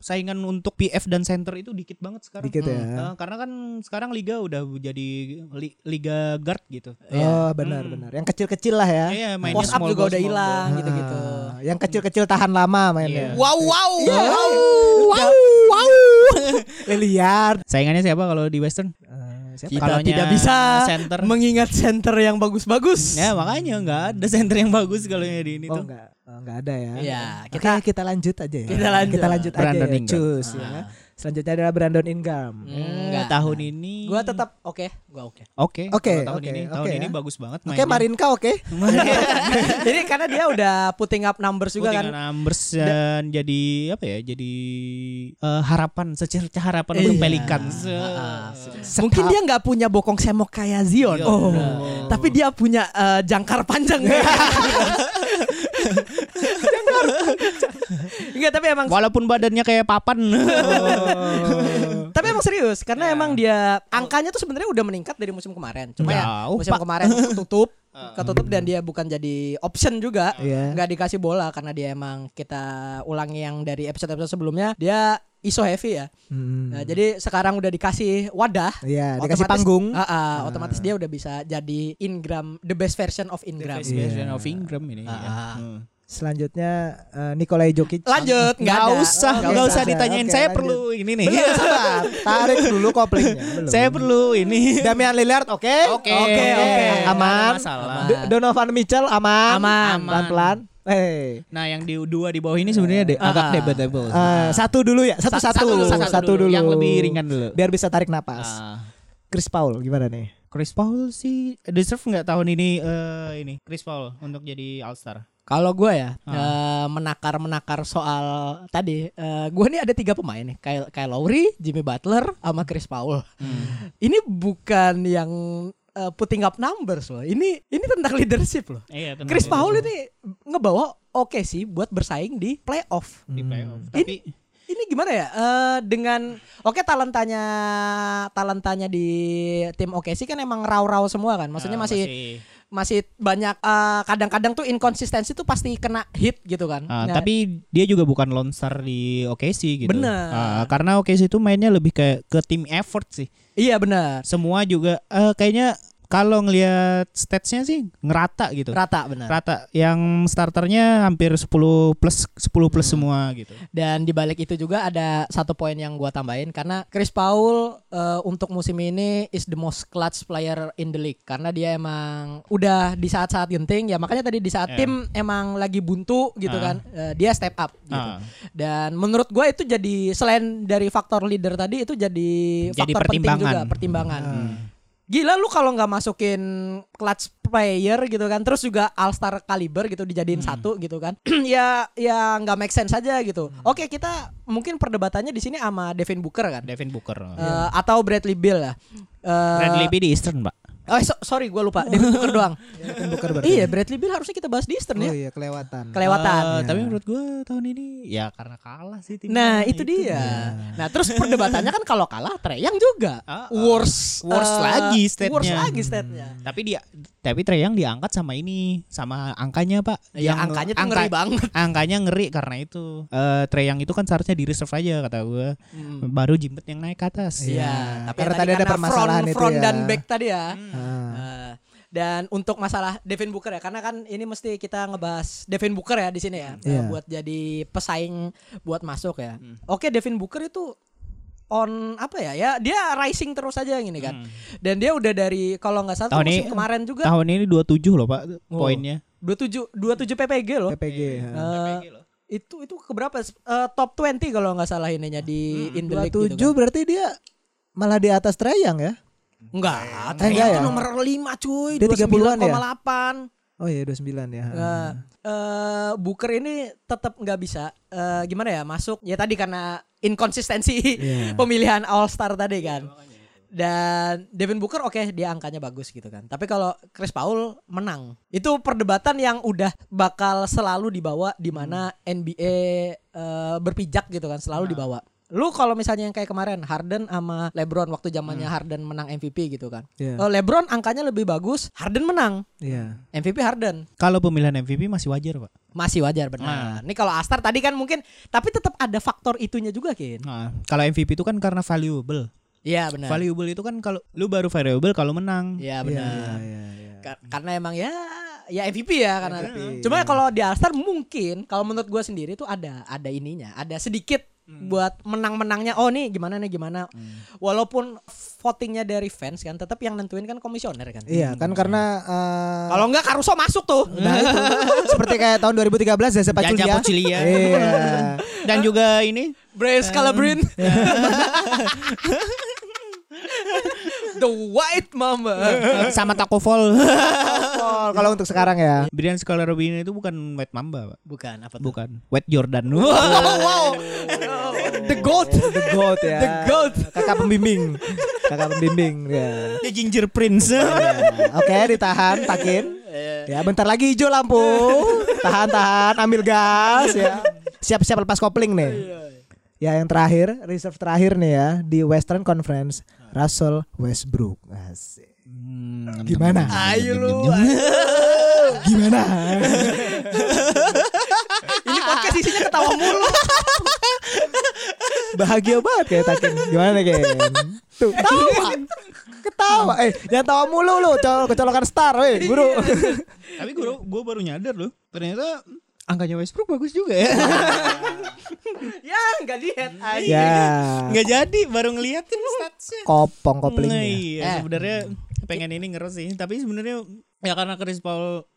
[SPEAKER 2] saingan untuk PF dan center itu dikit banget sekarang.
[SPEAKER 3] Dikit ya.
[SPEAKER 2] Nah, karena kan sekarang liga udah jadi li- liga guard gitu.
[SPEAKER 1] Iya. Hmm.
[SPEAKER 3] Oh, benar benar. Yang kecil-kecil lah ya.
[SPEAKER 2] Iya, mainnya
[SPEAKER 1] post up
[SPEAKER 2] small
[SPEAKER 1] juga
[SPEAKER 2] ball,
[SPEAKER 1] udah
[SPEAKER 2] small
[SPEAKER 1] hilang
[SPEAKER 2] ball.
[SPEAKER 1] gitu-gitu.
[SPEAKER 3] Ah, yang kecil-kecil tahan lama mainnya.
[SPEAKER 2] Iya.
[SPEAKER 1] Wow wow wow.
[SPEAKER 3] Wow, wow. Liliard.
[SPEAKER 2] Saingannya siapa kalau di Western?
[SPEAKER 3] Eh, siapa?
[SPEAKER 1] Kita
[SPEAKER 2] Kalaunya
[SPEAKER 1] tidak bisa
[SPEAKER 2] center.
[SPEAKER 1] mengingat center yang bagus-bagus.
[SPEAKER 2] Ya makanya nggak ada center yang bagus kalau yang di ini
[SPEAKER 3] Oh,
[SPEAKER 2] tuh.
[SPEAKER 3] enggak. Oh, enggak ada ya.
[SPEAKER 1] Gitu. Iya,
[SPEAKER 3] Oke,
[SPEAKER 1] kita-
[SPEAKER 3] kita lanjut aja ya.
[SPEAKER 1] Kita lanjut. Ah.
[SPEAKER 3] aja.
[SPEAKER 2] Brandon Ingram.
[SPEAKER 3] Cus, ya. Selanjutnya adalah Brandon Ingram.
[SPEAKER 2] Eh,
[SPEAKER 1] Enggak.
[SPEAKER 2] tahun ini
[SPEAKER 1] Gua tetap oke, gua oke.
[SPEAKER 2] Oke.
[SPEAKER 3] Oke,
[SPEAKER 2] kalau tahun
[SPEAKER 3] oke,
[SPEAKER 2] ini
[SPEAKER 3] oke
[SPEAKER 2] tahun ini
[SPEAKER 3] ya.
[SPEAKER 2] bagus banget
[SPEAKER 3] Oke,
[SPEAKER 2] mainnya.
[SPEAKER 3] Marinka oke.
[SPEAKER 1] Jadi karena dia udah putting up numbers juga kan.
[SPEAKER 2] Putingan numbers dan jadi apa ya? Jadi eh, harapan secerca harapan untuk
[SPEAKER 1] Iya.
[SPEAKER 2] Pelikan.
[SPEAKER 1] Ah, Mungkin dia nggak punya bokong semok kayak Zion.
[SPEAKER 2] Zion,
[SPEAKER 1] Oh.
[SPEAKER 2] Iya, benar.
[SPEAKER 1] Tapi dia punya eh, jangkar panjang. Jangkar panjang. Enggak, tapi emang
[SPEAKER 2] Walaupun badannya kayak papan.
[SPEAKER 1] Oh, iya, tapi emang serius
[SPEAKER 3] Iya.
[SPEAKER 1] karena emang dia angkanya tuh sebenarnya udah meningkat dari musim kemarin. Cuma ya
[SPEAKER 2] Jauh,
[SPEAKER 1] musim kemarin ketutup ketutup dan dia bukan jadi option juga.
[SPEAKER 3] Iya.
[SPEAKER 1] nggak dikasih bola karena dia emang kita ulangi yang dari episode-episode sebelumnya dia iso heavy ya.
[SPEAKER 3] Hmm.
[SPEAKER 1] Nah, jadi sekarang udah dikasih wadah
[SPEAKER 3] Iya,
[SPEAKER 1] Otomatis-
[SPEAKER 3] dikasih panggung. Nah.
[SPEAKER 1] Ah, ah, otomatis dia udah bisa jadi Ingram, the best version of Ingram.
[SPEAKER 3] Iya.
[SPEAKER 2] Best version of Ingram ini.
[SPEAKER 1] iya. Ah.
[SPEAKER 2] ya. Hmm.
[SPEAKER 3] Selanjutnya eh, Nikolai Jokic.
[SPEAKER 1] Lanjut, nggak
[SPEAKER 2] Nggak
[SPEAKER 1] ada.
[SPEAKER 2] usah,
[SPEAKER 3] Oke,
[SPEAKER 2] nggak
[SPEAKER 3] nggak
[SPEAKER 2] usah
[SPEAKER 3] usah.
[SPEAKER 2] ditanyain.
[SPEAKER 3] Oke,
[SPEAKER 2] Saya
[SPEAKER 3] lanjut.
[SPEAKER 2] perlu ini nih.
[SPEAKER 3] Belum,
[SPEAKER 1] Iya.
[SPEAKER 3] sabar. Tarik dulu koplingnya. Belum.
[SPEAKER 2] Saya perlu ini.
[SPEAKER 3] Damian Lillard oke?
[SPEAKER 2] Oke,
[SPEAKER 1] Oke, oke.
[SPEAKER 3] Aman.
[SPEAKER 2] Nggak ada masalah.
[SPEAKER 3] D- Donovan Mitchell aman.
[SPEAKER 1] Aman.
[SPEAKER 3] Pelan-pelan. Eh.
[SPEAKER 2] Nah, yang di dua di bawah ini sebenarnya de-
[SPEAKER 1] Ah.
[SPEAKER 2] agak debatable.
[SPEAKER 3] eh, satu dulu ya, satu
[SPEAKER 2] Sa-
[SPEAKER 3] satu,
[SPEAKER 2] satu dulu, satu dulu. Yang lebih ringan dulu.
[SPEAKER 3] Biar bisa tarik napas.
[SPEAKER 2] Ah.
[SPEAKER 3] Chris Paul gimana nih?
[SPEAKER 2] eh, Chris Paul sih deserve nggak tahun ini eh, ini Chris Paul untuk jadi All Star.
[SPEAKER 1] Kalau gue ya eh, menakar-menakar soal tadi, eh, gue nih ada tiga pemain nih, Kyle, Kyle Lowry, Jimmy Butler, sama Chris Paul. Ini bukan yang eh, putting up numbers loh. Ini ini tentang leadership loh.
[SPEAKER 2] Iya, tenang,
[SPEAKER 1] Chris
[SPEAKER 2] iya,
[SPEAKER 1] Paul
[SPEAKER 2] tenang.
[SPEAKER 1] ini ngebawa oke sih buat bersaing di playoff.
[SPEAKER 2] di playoff.
[SPEAKER 1] Ini-
[SPEAKER 2] Tapi
[SPEAKER 1] Ini gimana ya? Eh, dengan oke talentanya talentanya di tim OKC kan emang raw-raw semua kan. Maksudnya
[SPEAKER 2] eh,
[SPEAKER 1] masih masih banyak eh, kadang-kadang tuh inkonsistensi tuh pasti kena hit gitu kan.
[SPEAKER 2] Ah,
[SPEAKER 1] Nah,
[SPEAKER 2] tapi dia juga bukan lone star di OKC gitu.
[SPEAKER 1] Bener.
[SPEAKER 2] Ah, karena OKC itu mainnya lebih ke ke tim effort sih.
[SPEAKER 1] iya benar.
[SPEAKER 2] Semua juga eh, kayaknya kalau ngelihat statsnya sih ngerata gitu.
[SPEAKER 1] Rata benar.
[SPEAKER 2] Rata. Yang starternya hampir 10 plus 10 plus
[SPEAKER 1] Hmm.
[SPEAKER 2] semua gitu.
[SPEAKER 1] Dan di balik itu juga ada satu poin yang gua tambahin karena Chris Paul eh, untuk musim ini is the most clutch player in the league karena dia emang udah di saat-saat genting ya makanya tadi di saat
[SPEAKER 2] Iya.
[SPEAKER 1] tim emang lagi buntu gitu
[SPEAKER 2] Ah.
[SPEAKER 1] kan eh, dia step up gitu.
[SPEAKER 2] Ah.
[SPEAKER 1] Dan menurut gue itu jadi selain dari faktor leader tadi itu jadi, faktor
[SPEAKER 2] Jadi pertimbangan. Hmm.
[SPEAKER 1] penting juga pertimbangan. Gila lu kalau nggak masukin clutch player gitu kan, terus juga all star caliber gitu dijadiin satu gitu kan, ya ya nggak make sense aja gitu. Oke kita mungkin perdebatannya di sini sama Devin Booker kan,
[SPEAKER 2] Devin Booker.
[SPEAKER 1] Eh, atau Bradley Bill lah. Eh,
[SPEAKER 2] Oh, iya. Bradley Beal di Eastern, Pak.
[SPEAKER 1] Oh so- sorry gue lupa Devin Booker doang.
[SPEAKER 3] Devin Booker berarti.
[SPEAKER 1] iya Bradley Bill harusnya kita bahas di Eastern ya.
[SPEAKER 3] Oh iya kelewatan.
[SPEAKER 1] Kelewatan.
[SPEAKER 2] Eh, tapi menurut gua tahun ini ya karena kalah sih timnya.
[SPEAKER 1] Nah itu, dia. Nah terus perdebatannya kan kalau kalah Treyang juga
[SPEAKER 2] Ah, ah.
[SPEAKER 1] worse
[SPEAKER 2] Worse
[SPEAKER 1] eh,
[SPEAKER 2] lagi statnya.
[SPEAKER 1] Worse lagi statnya.
[SPEAKER 2] Iya. Tapi dia tapi Trae Young diangkat sama ini, sama angkanya, Pak.
[SPEAKER 1] Ya
[SPEAKER 2] Yang
[SPEAKER 1] angkanya tuh
[SPEAKER 2] angka-
[SPEAKER 1] ngeri banget.
[SPEAKER 2] angkanya ngeri karena itu. Eh Trae Young itu kan seharusnya di reserve aja kata gua. Baru Jimbet yang naik ke atas.
[SPEAKER 1] Hmm. Iya, tapi
[SPEAKER 3] Karena
[SPEAKER 1] yang
[SPEAKER 3] tadi ada
[SPEAKER 1] karena
[SPEAKER 3] permasalahan
[SPEAKER 1] front,
[SPEAKER 3] itu
[SPEAKER 1] front
[SPEAKER 3] ya.
[SPEAKER 1] dan back tadi ya.
[SPEAKER 3] Ah.
[SPEAKER 1] Eh, dan untuk masalah Devin Booker ya, karena kan ini mesti kita ngebahas Devin Booker ya di sini ya, eh,
[SPEAKER 3] Iya. Hmm.
[SPEAKER 1] buat jadi pesaing buat masuk ya. Oke, Devin Booker itu on apa ya ya dia rising terus aja gini kan.
[SPEAKER 3] Hmm.
[SPEAKER 1] Dan dia udah dari kalau nggak salah tuh
[SPEAKER 2] Tahun
[SPEAKER 1] musim
[SPEAKER 2] ini-
[SPEAKER 1] kemarin juga
[SPEAKER 2] Tahun ini 27 loh, Pak,
[SPEAKER 1] Oh.
[SPEAKER 2] poinnya.
[SPEAKER 1] 27 27 PPG loh.
[SPEAKER 3] PPG. ya.
[SPEAKER 1] Eh, itu itu keberapa Eh, top 20 kalau nggak salah ininya di
[SPEAKER 3] Hmm.
[SPEAKER 1] in the league
[SPEAKER 3] 27
[SPEAKER 1] gitu kan.
[SPEAKER 3] berarti dia malah di atas Treyang ya?
[SPEAKER 1] enggak
[SPEAKER 3] enggak
[SPEAKER 1] ternyata
[SPEAKER 3] ya?
[SPEAKER 1] nomor 5 cuy
[SPEAKER 3] Dia 30-an ya?
[SPEAKER 1] 29,8
[SPEAKER 3] Oh iya 29 ya.
[SPEAKER 1] Nah, eh, Booker ini tetap nggak bisa eh, gimana ya masuk ya tadi karena inkonsistensi
[SPEAKER 3] Iya.
[SPEAKER 1] pemilihan All Star tadi kan. Dan Devin Booker oke dia angkanya bagus gitu kan. Tapi kalau Chris Paul menang. Itu perdebatan yang udah bakal selalu dibawa di mana
[SPEAKER 3] Hmm.
[SPEAKER 1] NBA eh, berpijak gitu kan,
[SPEAKER 3] Nah.
[SPEAKER 1] selalu dibawa. Lu kalau misalnya yang kayak kemarin Harden sama LeBron waktu
[SPEAKER 3] Hmm.
[SPEAKER 1] zamannya Harden menang MVP gitu kan.
[SPEAKER 3] Iya.
[SPEAKER 1] Eh, LeBron angkanya lebih bagus, Harden menang.
[SPEAKER 3] Iya.
[SPEAKER 1] MVP Harden
[SPEAKER 2] Kalau pemilihan MVP masih wajar, Pak.
[SPEAKER 1] masih wajar benar. Ini kalau Astar tadi kan mungkin tapi tetap ada faktor itunya juga Kin.
[SPEAKER 2] Nah, kalau MVP itu kan karena valuable.
[SPEAKER 1] Iya benar.
[SPEAKER 2] Valuable itu kan kalau lu baru valuable kalau menang.
[SPEAKER 1] Iya
[SPEAKER 3] Iya
[SPEAKER 1] benar.
[SPEAKER 3] iya iya. iya.
[SPEAKER 1] Ka- karena emang ya ya MVP ya karena. Cuma kalau di Astar mungkin kalau menurut gua sendiri tuh ada ada ininya, ada sedikit buat menang-menangnya oh nih gimana nih gimana walaupun votingnya dari fans kan tetap yang nentuin kan komisioner kan
[SPEAKER 3] Iya, kan karena eh,
[SPEAKER 1] kalau enggak Caruso masuk tuh
[SPEAKER 3] Nah itu seperti kayak tahun 2013 Zaza Paculia.
[SPEAKER 2] Zaza Pachulia.
[SPEAKER 3] ya, Iya.
[SPEAKER 2] Dan juga ini
[SPEAKER 1] Brace Calabrin The White Mama
[SPEAKER 2] eh, sama Taco Fall.
[SPEAKER 3] Pol, kalau untuk sekarang ya.
[SPEAKER 2] Brian Scalabrine itu bukan White Mamba, Pak.
[SPEAKER 1] bukan apa tuh?
[SPEAKER 2] Bukan. White Jordan.
[SPEAKER 1] Oh, wow. The goat.
[SPEAKER 3] The GOAT ya.
[SPEAKER 1] The goat.
[SPEAKER 3] Kakak pembimbing. Kakak pembimbing ya.
[SPEAKER 2] The Ginger Prince.
[SPEAKER 3] Ya, Oke, ditahan, takin. Ya, bentar lagi hijau lampu. Tahan, tahan, ambil gas ya. Siap-siap lepas kopling nih. Ya, yang terakhir, reserve terakhir nih ya di Western Conference, Russell Westbrook. Asik.
[SPEAKER 2] Hmm,
[SPEAKER 3] Gimana?
[SPEAKER 1] Ayo lu.
[SPEAKER 3] Gimana?
[SPEAKER 1] Ini podcast isinya ketawa mulu.
[SPEAKER 3] Bahagia banget kayak Takin. Gimana kayak? Tuh, tawa. Ketawa. Eh, jangan tawa mulu lu, col- kecolokan star, weh, buru.
[SPEAKER 2] Tapi gue gue baru nyadar loh. Ternyata angkanya Westbrook bagus juga ya.
[SPEAKER 1] ya, enggak lihat.
[SPEAKER 3] ya.
[SPEAKER 2] nggak jadi baru ngeliatin statsnya
[SPEAKER 3] Kopong
[SPEAKER 2] Nah,
[SPEAKER 3] koplingnya.
[SPEAKER 2] iya
[SPEAKER 1] Eh.
[SPEAKER 2] sebenarnya pengen ini ngeres sih tapi sebenarnya ya karena Chris Paul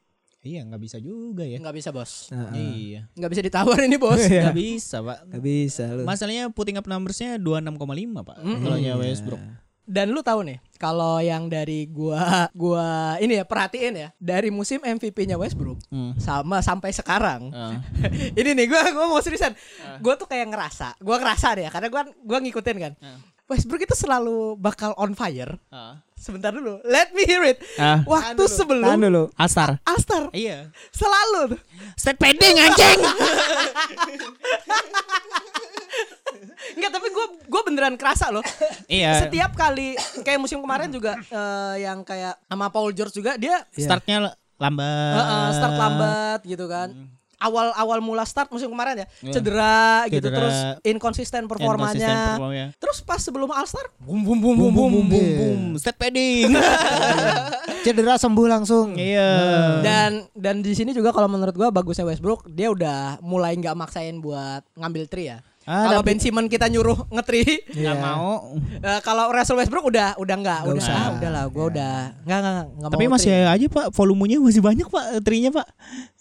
[SPEAKER 2] iya nggak bisa juga ya
[SPEAKER 1] Enggak bisa, Bos.
[SPEAKER 2] iya
[SPEAKER 1] Enggak bisa ditawar ini, Bos.
[SPEAKER 2] nggak bisa pak
[SPEAKER 3] Gak bisa lu.
[SPEAKER 2] Iya. masalahnya putting up numbersnya 26,5 pak kalau nya Westbrook
[SPEAKER 1] Dan lu tahu nih, kalau yang dari gua gua ini ya perhatiin ya, dari musim MVP-nya Westbrook
[SPEAKER 2] Hmm.
[SPEAKER 1] sama sampai sekarang.
[SPEAKER 2] Ah.
[SPEAKER 1] ini nih gua gua mau seriusan.
[SPEAKER 2] Hmm.
[SPEAKER 1] Gua tuh kayak ngerasa, gua ngerasa deh ya, karena gua gua ngikutin kan.
[SPEAKER 2] Hmm.
[SPEAKER 1] Westbrook itu selalu bakal on fire. Sebentar dulu, let me hear it.
[SPEAKER 2] Ah.
[SPEAKER 1] Waktu sebelum
[SPEAKER 3] Tahan dulu.
[SPEAKER 2] Astar.
[SPEAKER 1] Astar
[SPEAKER 2] Iya.
[SPEAKER 1] selalu tuh.
[SPEAKER 2] Stat pending anjing.
[SPEAKER 1] Enggak, tapi gue gue beneran kerasa loh.
[SPEAKER 2] Iya.
[SPEAKER 1] Setiap kali kayak musim kemarin juga eh, yang kayak sama Paul George juga dia
[SPEAKER 2] Iya. Startnya l- lambat.
[SPEAKER 1] Heeh,
[SPEAKER 2] Ah.
[SPEAKER 1] start lambat gitu kan. Awal awal mula start musim kemarin ya cedera, gitu
[SPEAKER 2] Cedera.
[SPEAKER 1] terus inkonsisten performanya.
[SPEAKER 2] Inconsistent performanya.
[SPEAKER 1] Terus pas sebelum All Star
[SPEAKER 2] Bum bum bum bum bum bum bum. Stat pending.
[SPEAKER 3] Cedera sembuh langsung.
[SPEAKER 2] Iya.
[SPEAKER 1] dan dan di sini juga kalau menurut gua bagusnya Westbrook dia udah mulai nggak maksain buat ngambil tri ya.
[SPEAKER 2] Ah, Iya.
[SPEAKER 1] kalau Ben Simmons kita nyuruh ngetri,
[SPEAKER 3] Iya.
[SPEAKER 2] Enggak mau.
[SPEAKER 1] eh, kalau Russell Westbrook udah udah nggak,
[SPEAKER 3] Nggak
[SPEAKER 1] udah
[SPEAKER 3] usah.
[SPEAKER 1] ah, udah lah, gue udah nggak nggak nggak, nggak
[SPEAKER 2] Iya. Tapi
[SPEAKER 1] mau
[SPEAKER 2] masih
[SPEAKER 1] tri.
[SPEAKER 2] aja Pak, volumenya masih banyak Pak, trinya Pak.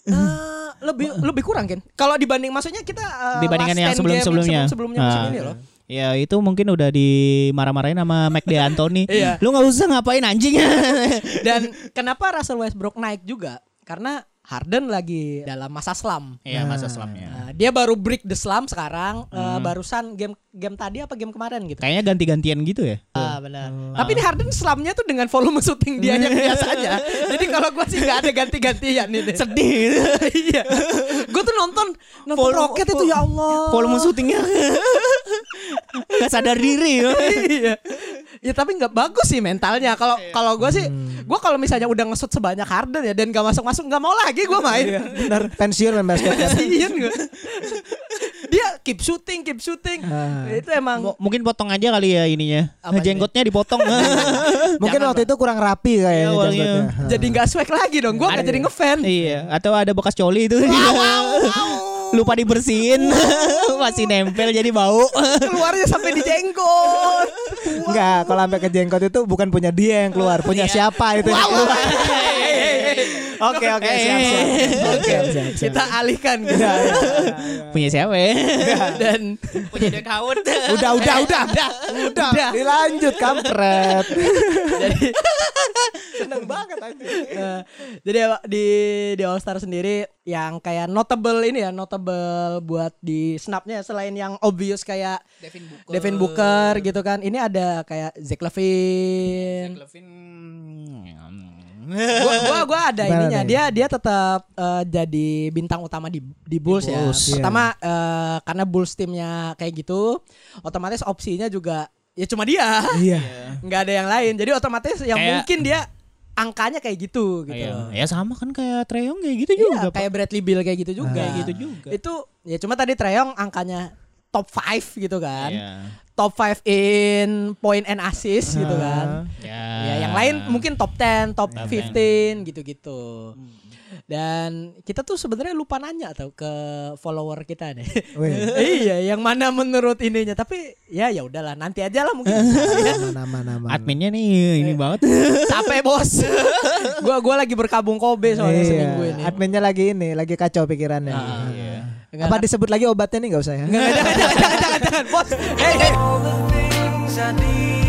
[SPEAKER 1] Eh, lebih lebih kurang kan kalau dibanding maksudnya kita eh,
[SPEAKER 2] Dibandingkan
[SPEAKER 1] last
[SPEAKER 2] yang
[SPEAKER 1] 10 game yang
[SPEAKER 2] sebelum-sebelumnya.
[SPEAKER 1] sebelum-sebelumnya musim
[SPEAKER 2] Ah.
[SPEAKER 1] ini loh
[SPEAKER 2] Ya itu mungkin udah dimarah-marahin sama Mac De Anthony.
[SPEAKER 1] Iya.
[SPEAKER 2] Lu nggak usah ngapain anjing.
[SPEAKER 1] dan kenapa Russell Westbrook naik juga karena Harden lagi dalam masa slump
[SPEAKER 2] Iya masa selamnya.
[SPEAKER 1] Nah, dia baru break the slump sekarang eh,
[SPEAKER 2] Hmm.
[SPEAKER 1] barusan game game tadi apa game kemarin gitu
[SPEAKER 2] Kayaknya ganti-gantian gitu ya.
[SPEAKER 1] Ah, benar. Tapi di Harden slumpnya tuh dengan volume syuting dia yang biasanya. Jadi kalau gua sih nggak ada ganti-gantian ini.
[SPEAKER 2] Sedih. gitu.
[SPEAKER 1] iya. Gua tuh nonton nonton
[SPEAKER 2] Volume-
[SPEAKER 1] roket itu ya Allah.
[SPEAKER 2] Volume syutingnya nggak sadar diri.
[SPEAKER 1] iya. Ya tapi nggak bagus sih mentalnya. Kalau
[SPEAKER 2] Iya.
[SPEAKER 1] kalau gue sih,
[SPEAKER 2] Hmm.
[SPEAKER 1] gue kalau misalnya udah ngesut sebanyak Harden ya dan gak masuk masuk nggak mau lagi gue main.
[SPEAKER 2] Iya.
[SPEAKER 3] Bener. Pensiun main basket.
[SPEAKER 1] Kasihin gue. Dia keep shooting, keep shooting.
[SPEAKER 3] Ah.
[SPEAKER 1] Itu emang
[SPEAKER 2] M- mungkin potong aja kali ya ininya.
[SPEAKER 1] Apanya?
[SPEAKER 2] Jenggotnya dipotong.
[SPEAKER 3] Mungkin
[SPEAKER 1] Jangan,
[SPEAKER 3] waktu itu kurang rapi kayaknya
[SPEAKER 2] Iya, awalnya.
[SPEAKER 3] jenggotnya. Ha.
[SPEAKER 1] jadi nggak swag lagi dong. Gue nggak jadi ngefan.
[SPEAKER 2] iya, atau ada bekas coli itu. Lupa dibersihin. Masih nempel jadi bau.
[SPEAKER 1] Keluarnya sampai di jenggot.
[SPEAKER 3] Enggak, kalau sampai ke jenggot itu bukan punya dia yang keluar, punya
[SPEAKER 1] Iya.
[SPEAKER 3] siapa itu yang keluar. Oke, oke, siap, siap.
[SPEAKER 1] Oke,
[SPEAKER 3] Siap, siap, siap.
[SPEAKER 1] Eh. kita alihkan
[SPEAKER 3] Iya,
[SPEAKER 1] gitu.
[SPEAKER 2] Punya siapa ya?
[SPEAKER 1] Dan
[SPEAKER 2] Punya Dwayne Howard.
[SPEAKER 3] Udah, udah, udah, udah.
[SPEAKER 1] udah,
[SPEAKER 3] Dilanjut kampret.
[SPEAKER 1] jadi
[SPEAKER 3] Seneng banget aja.
[SPEAKER 1] Eh, jadi di di All Star sendiri yang kayak notable ini ya notable buat di snapnya selain yang obvious kayak Devin Booker, gitu kan ini ada kayak Zach Levine gua, gua gua ada
[SPEAKER 3] Gimana
[SPEAKER 1] ininya
[SPEAKER 3] nih?
[SPEAKER 1] dia dia tetap eh, jadi bintang utama di di Bulls,
[SPEAKER 3] Bulls,
[SPEAKER 1] ya
[SPEAKER 3] iya.
[SPEAKER 1] pertama eh, karena Bulls timnya kayak gitu otomatis opsinya juga ya cuma dia
[SPEAKER 3] Iya.
[SPEAKER 1] nggak ada yang lain jadi otomatis yang
[SPEAKER 2] Kayak-
[SPEAKER 1] mungkin dia angkanya kayak gitu gitu loh.
[SPEAKER 3] Iya,
[SPEAKER 2] Ya sama kan kayak Treyong kayak gitu
[SPEAKER 1] Iya,
[SPEAKER 2] juga. Pak.
[SPEAKER 1] kayak Bradley Bill kayak gitu
[SPEAKER 3] Ah.
[SPEAKER 1] juga.
[SPEAKER 2] Kayak gitu juga.
[SPEAKER 1] Itu ya cuma tadi Treyong angkanya top 5 gitu kan.
[SPEAKER 2] Iya.
[SPEAKER 1] Top 5 in point and assist
[SPEAKER 3] Ah.
[SPEAKER 1] gitu kan.
[SPEAKER 2] Ya.
[SPEAKER 1] Ya yang lain mungkin top 10, top 15 gitu-gitu. Dan kita tuh sebenarnya lupa nanya tau ke follower kita nih.
[SPEAKER 3] Weh.
[SPEAKER 1] iya, yang mana menurut ininya. Tapi ya ya udahlah, nanti aja lah mungkin. Iya,
[SPEAKER 3] Nama-nama.
[SPEAKER 2] adminnya nih ini banget.
[SPEAKER 1] Capek bos. gua gua lagi berkabung Kobe soalnya seminggu ini.
[SPEAKER 3] Iya.
[SPEAKER 1] Ah, iya.
[SPEAKER 3] Adminnya lagi ini, lagi kacau pikirannya.
[SPEAKER 2] Iya.
[SPEAKER 1] Nggak-
[SPEAKER 3] Apa disebut lagi obatnya nih nggak usah ya?
[SPEAKER 1] Nggak, jangan, jangan, jangan, jangan, bos. Hey, hey.
[SPEAKER 4] all the things I need.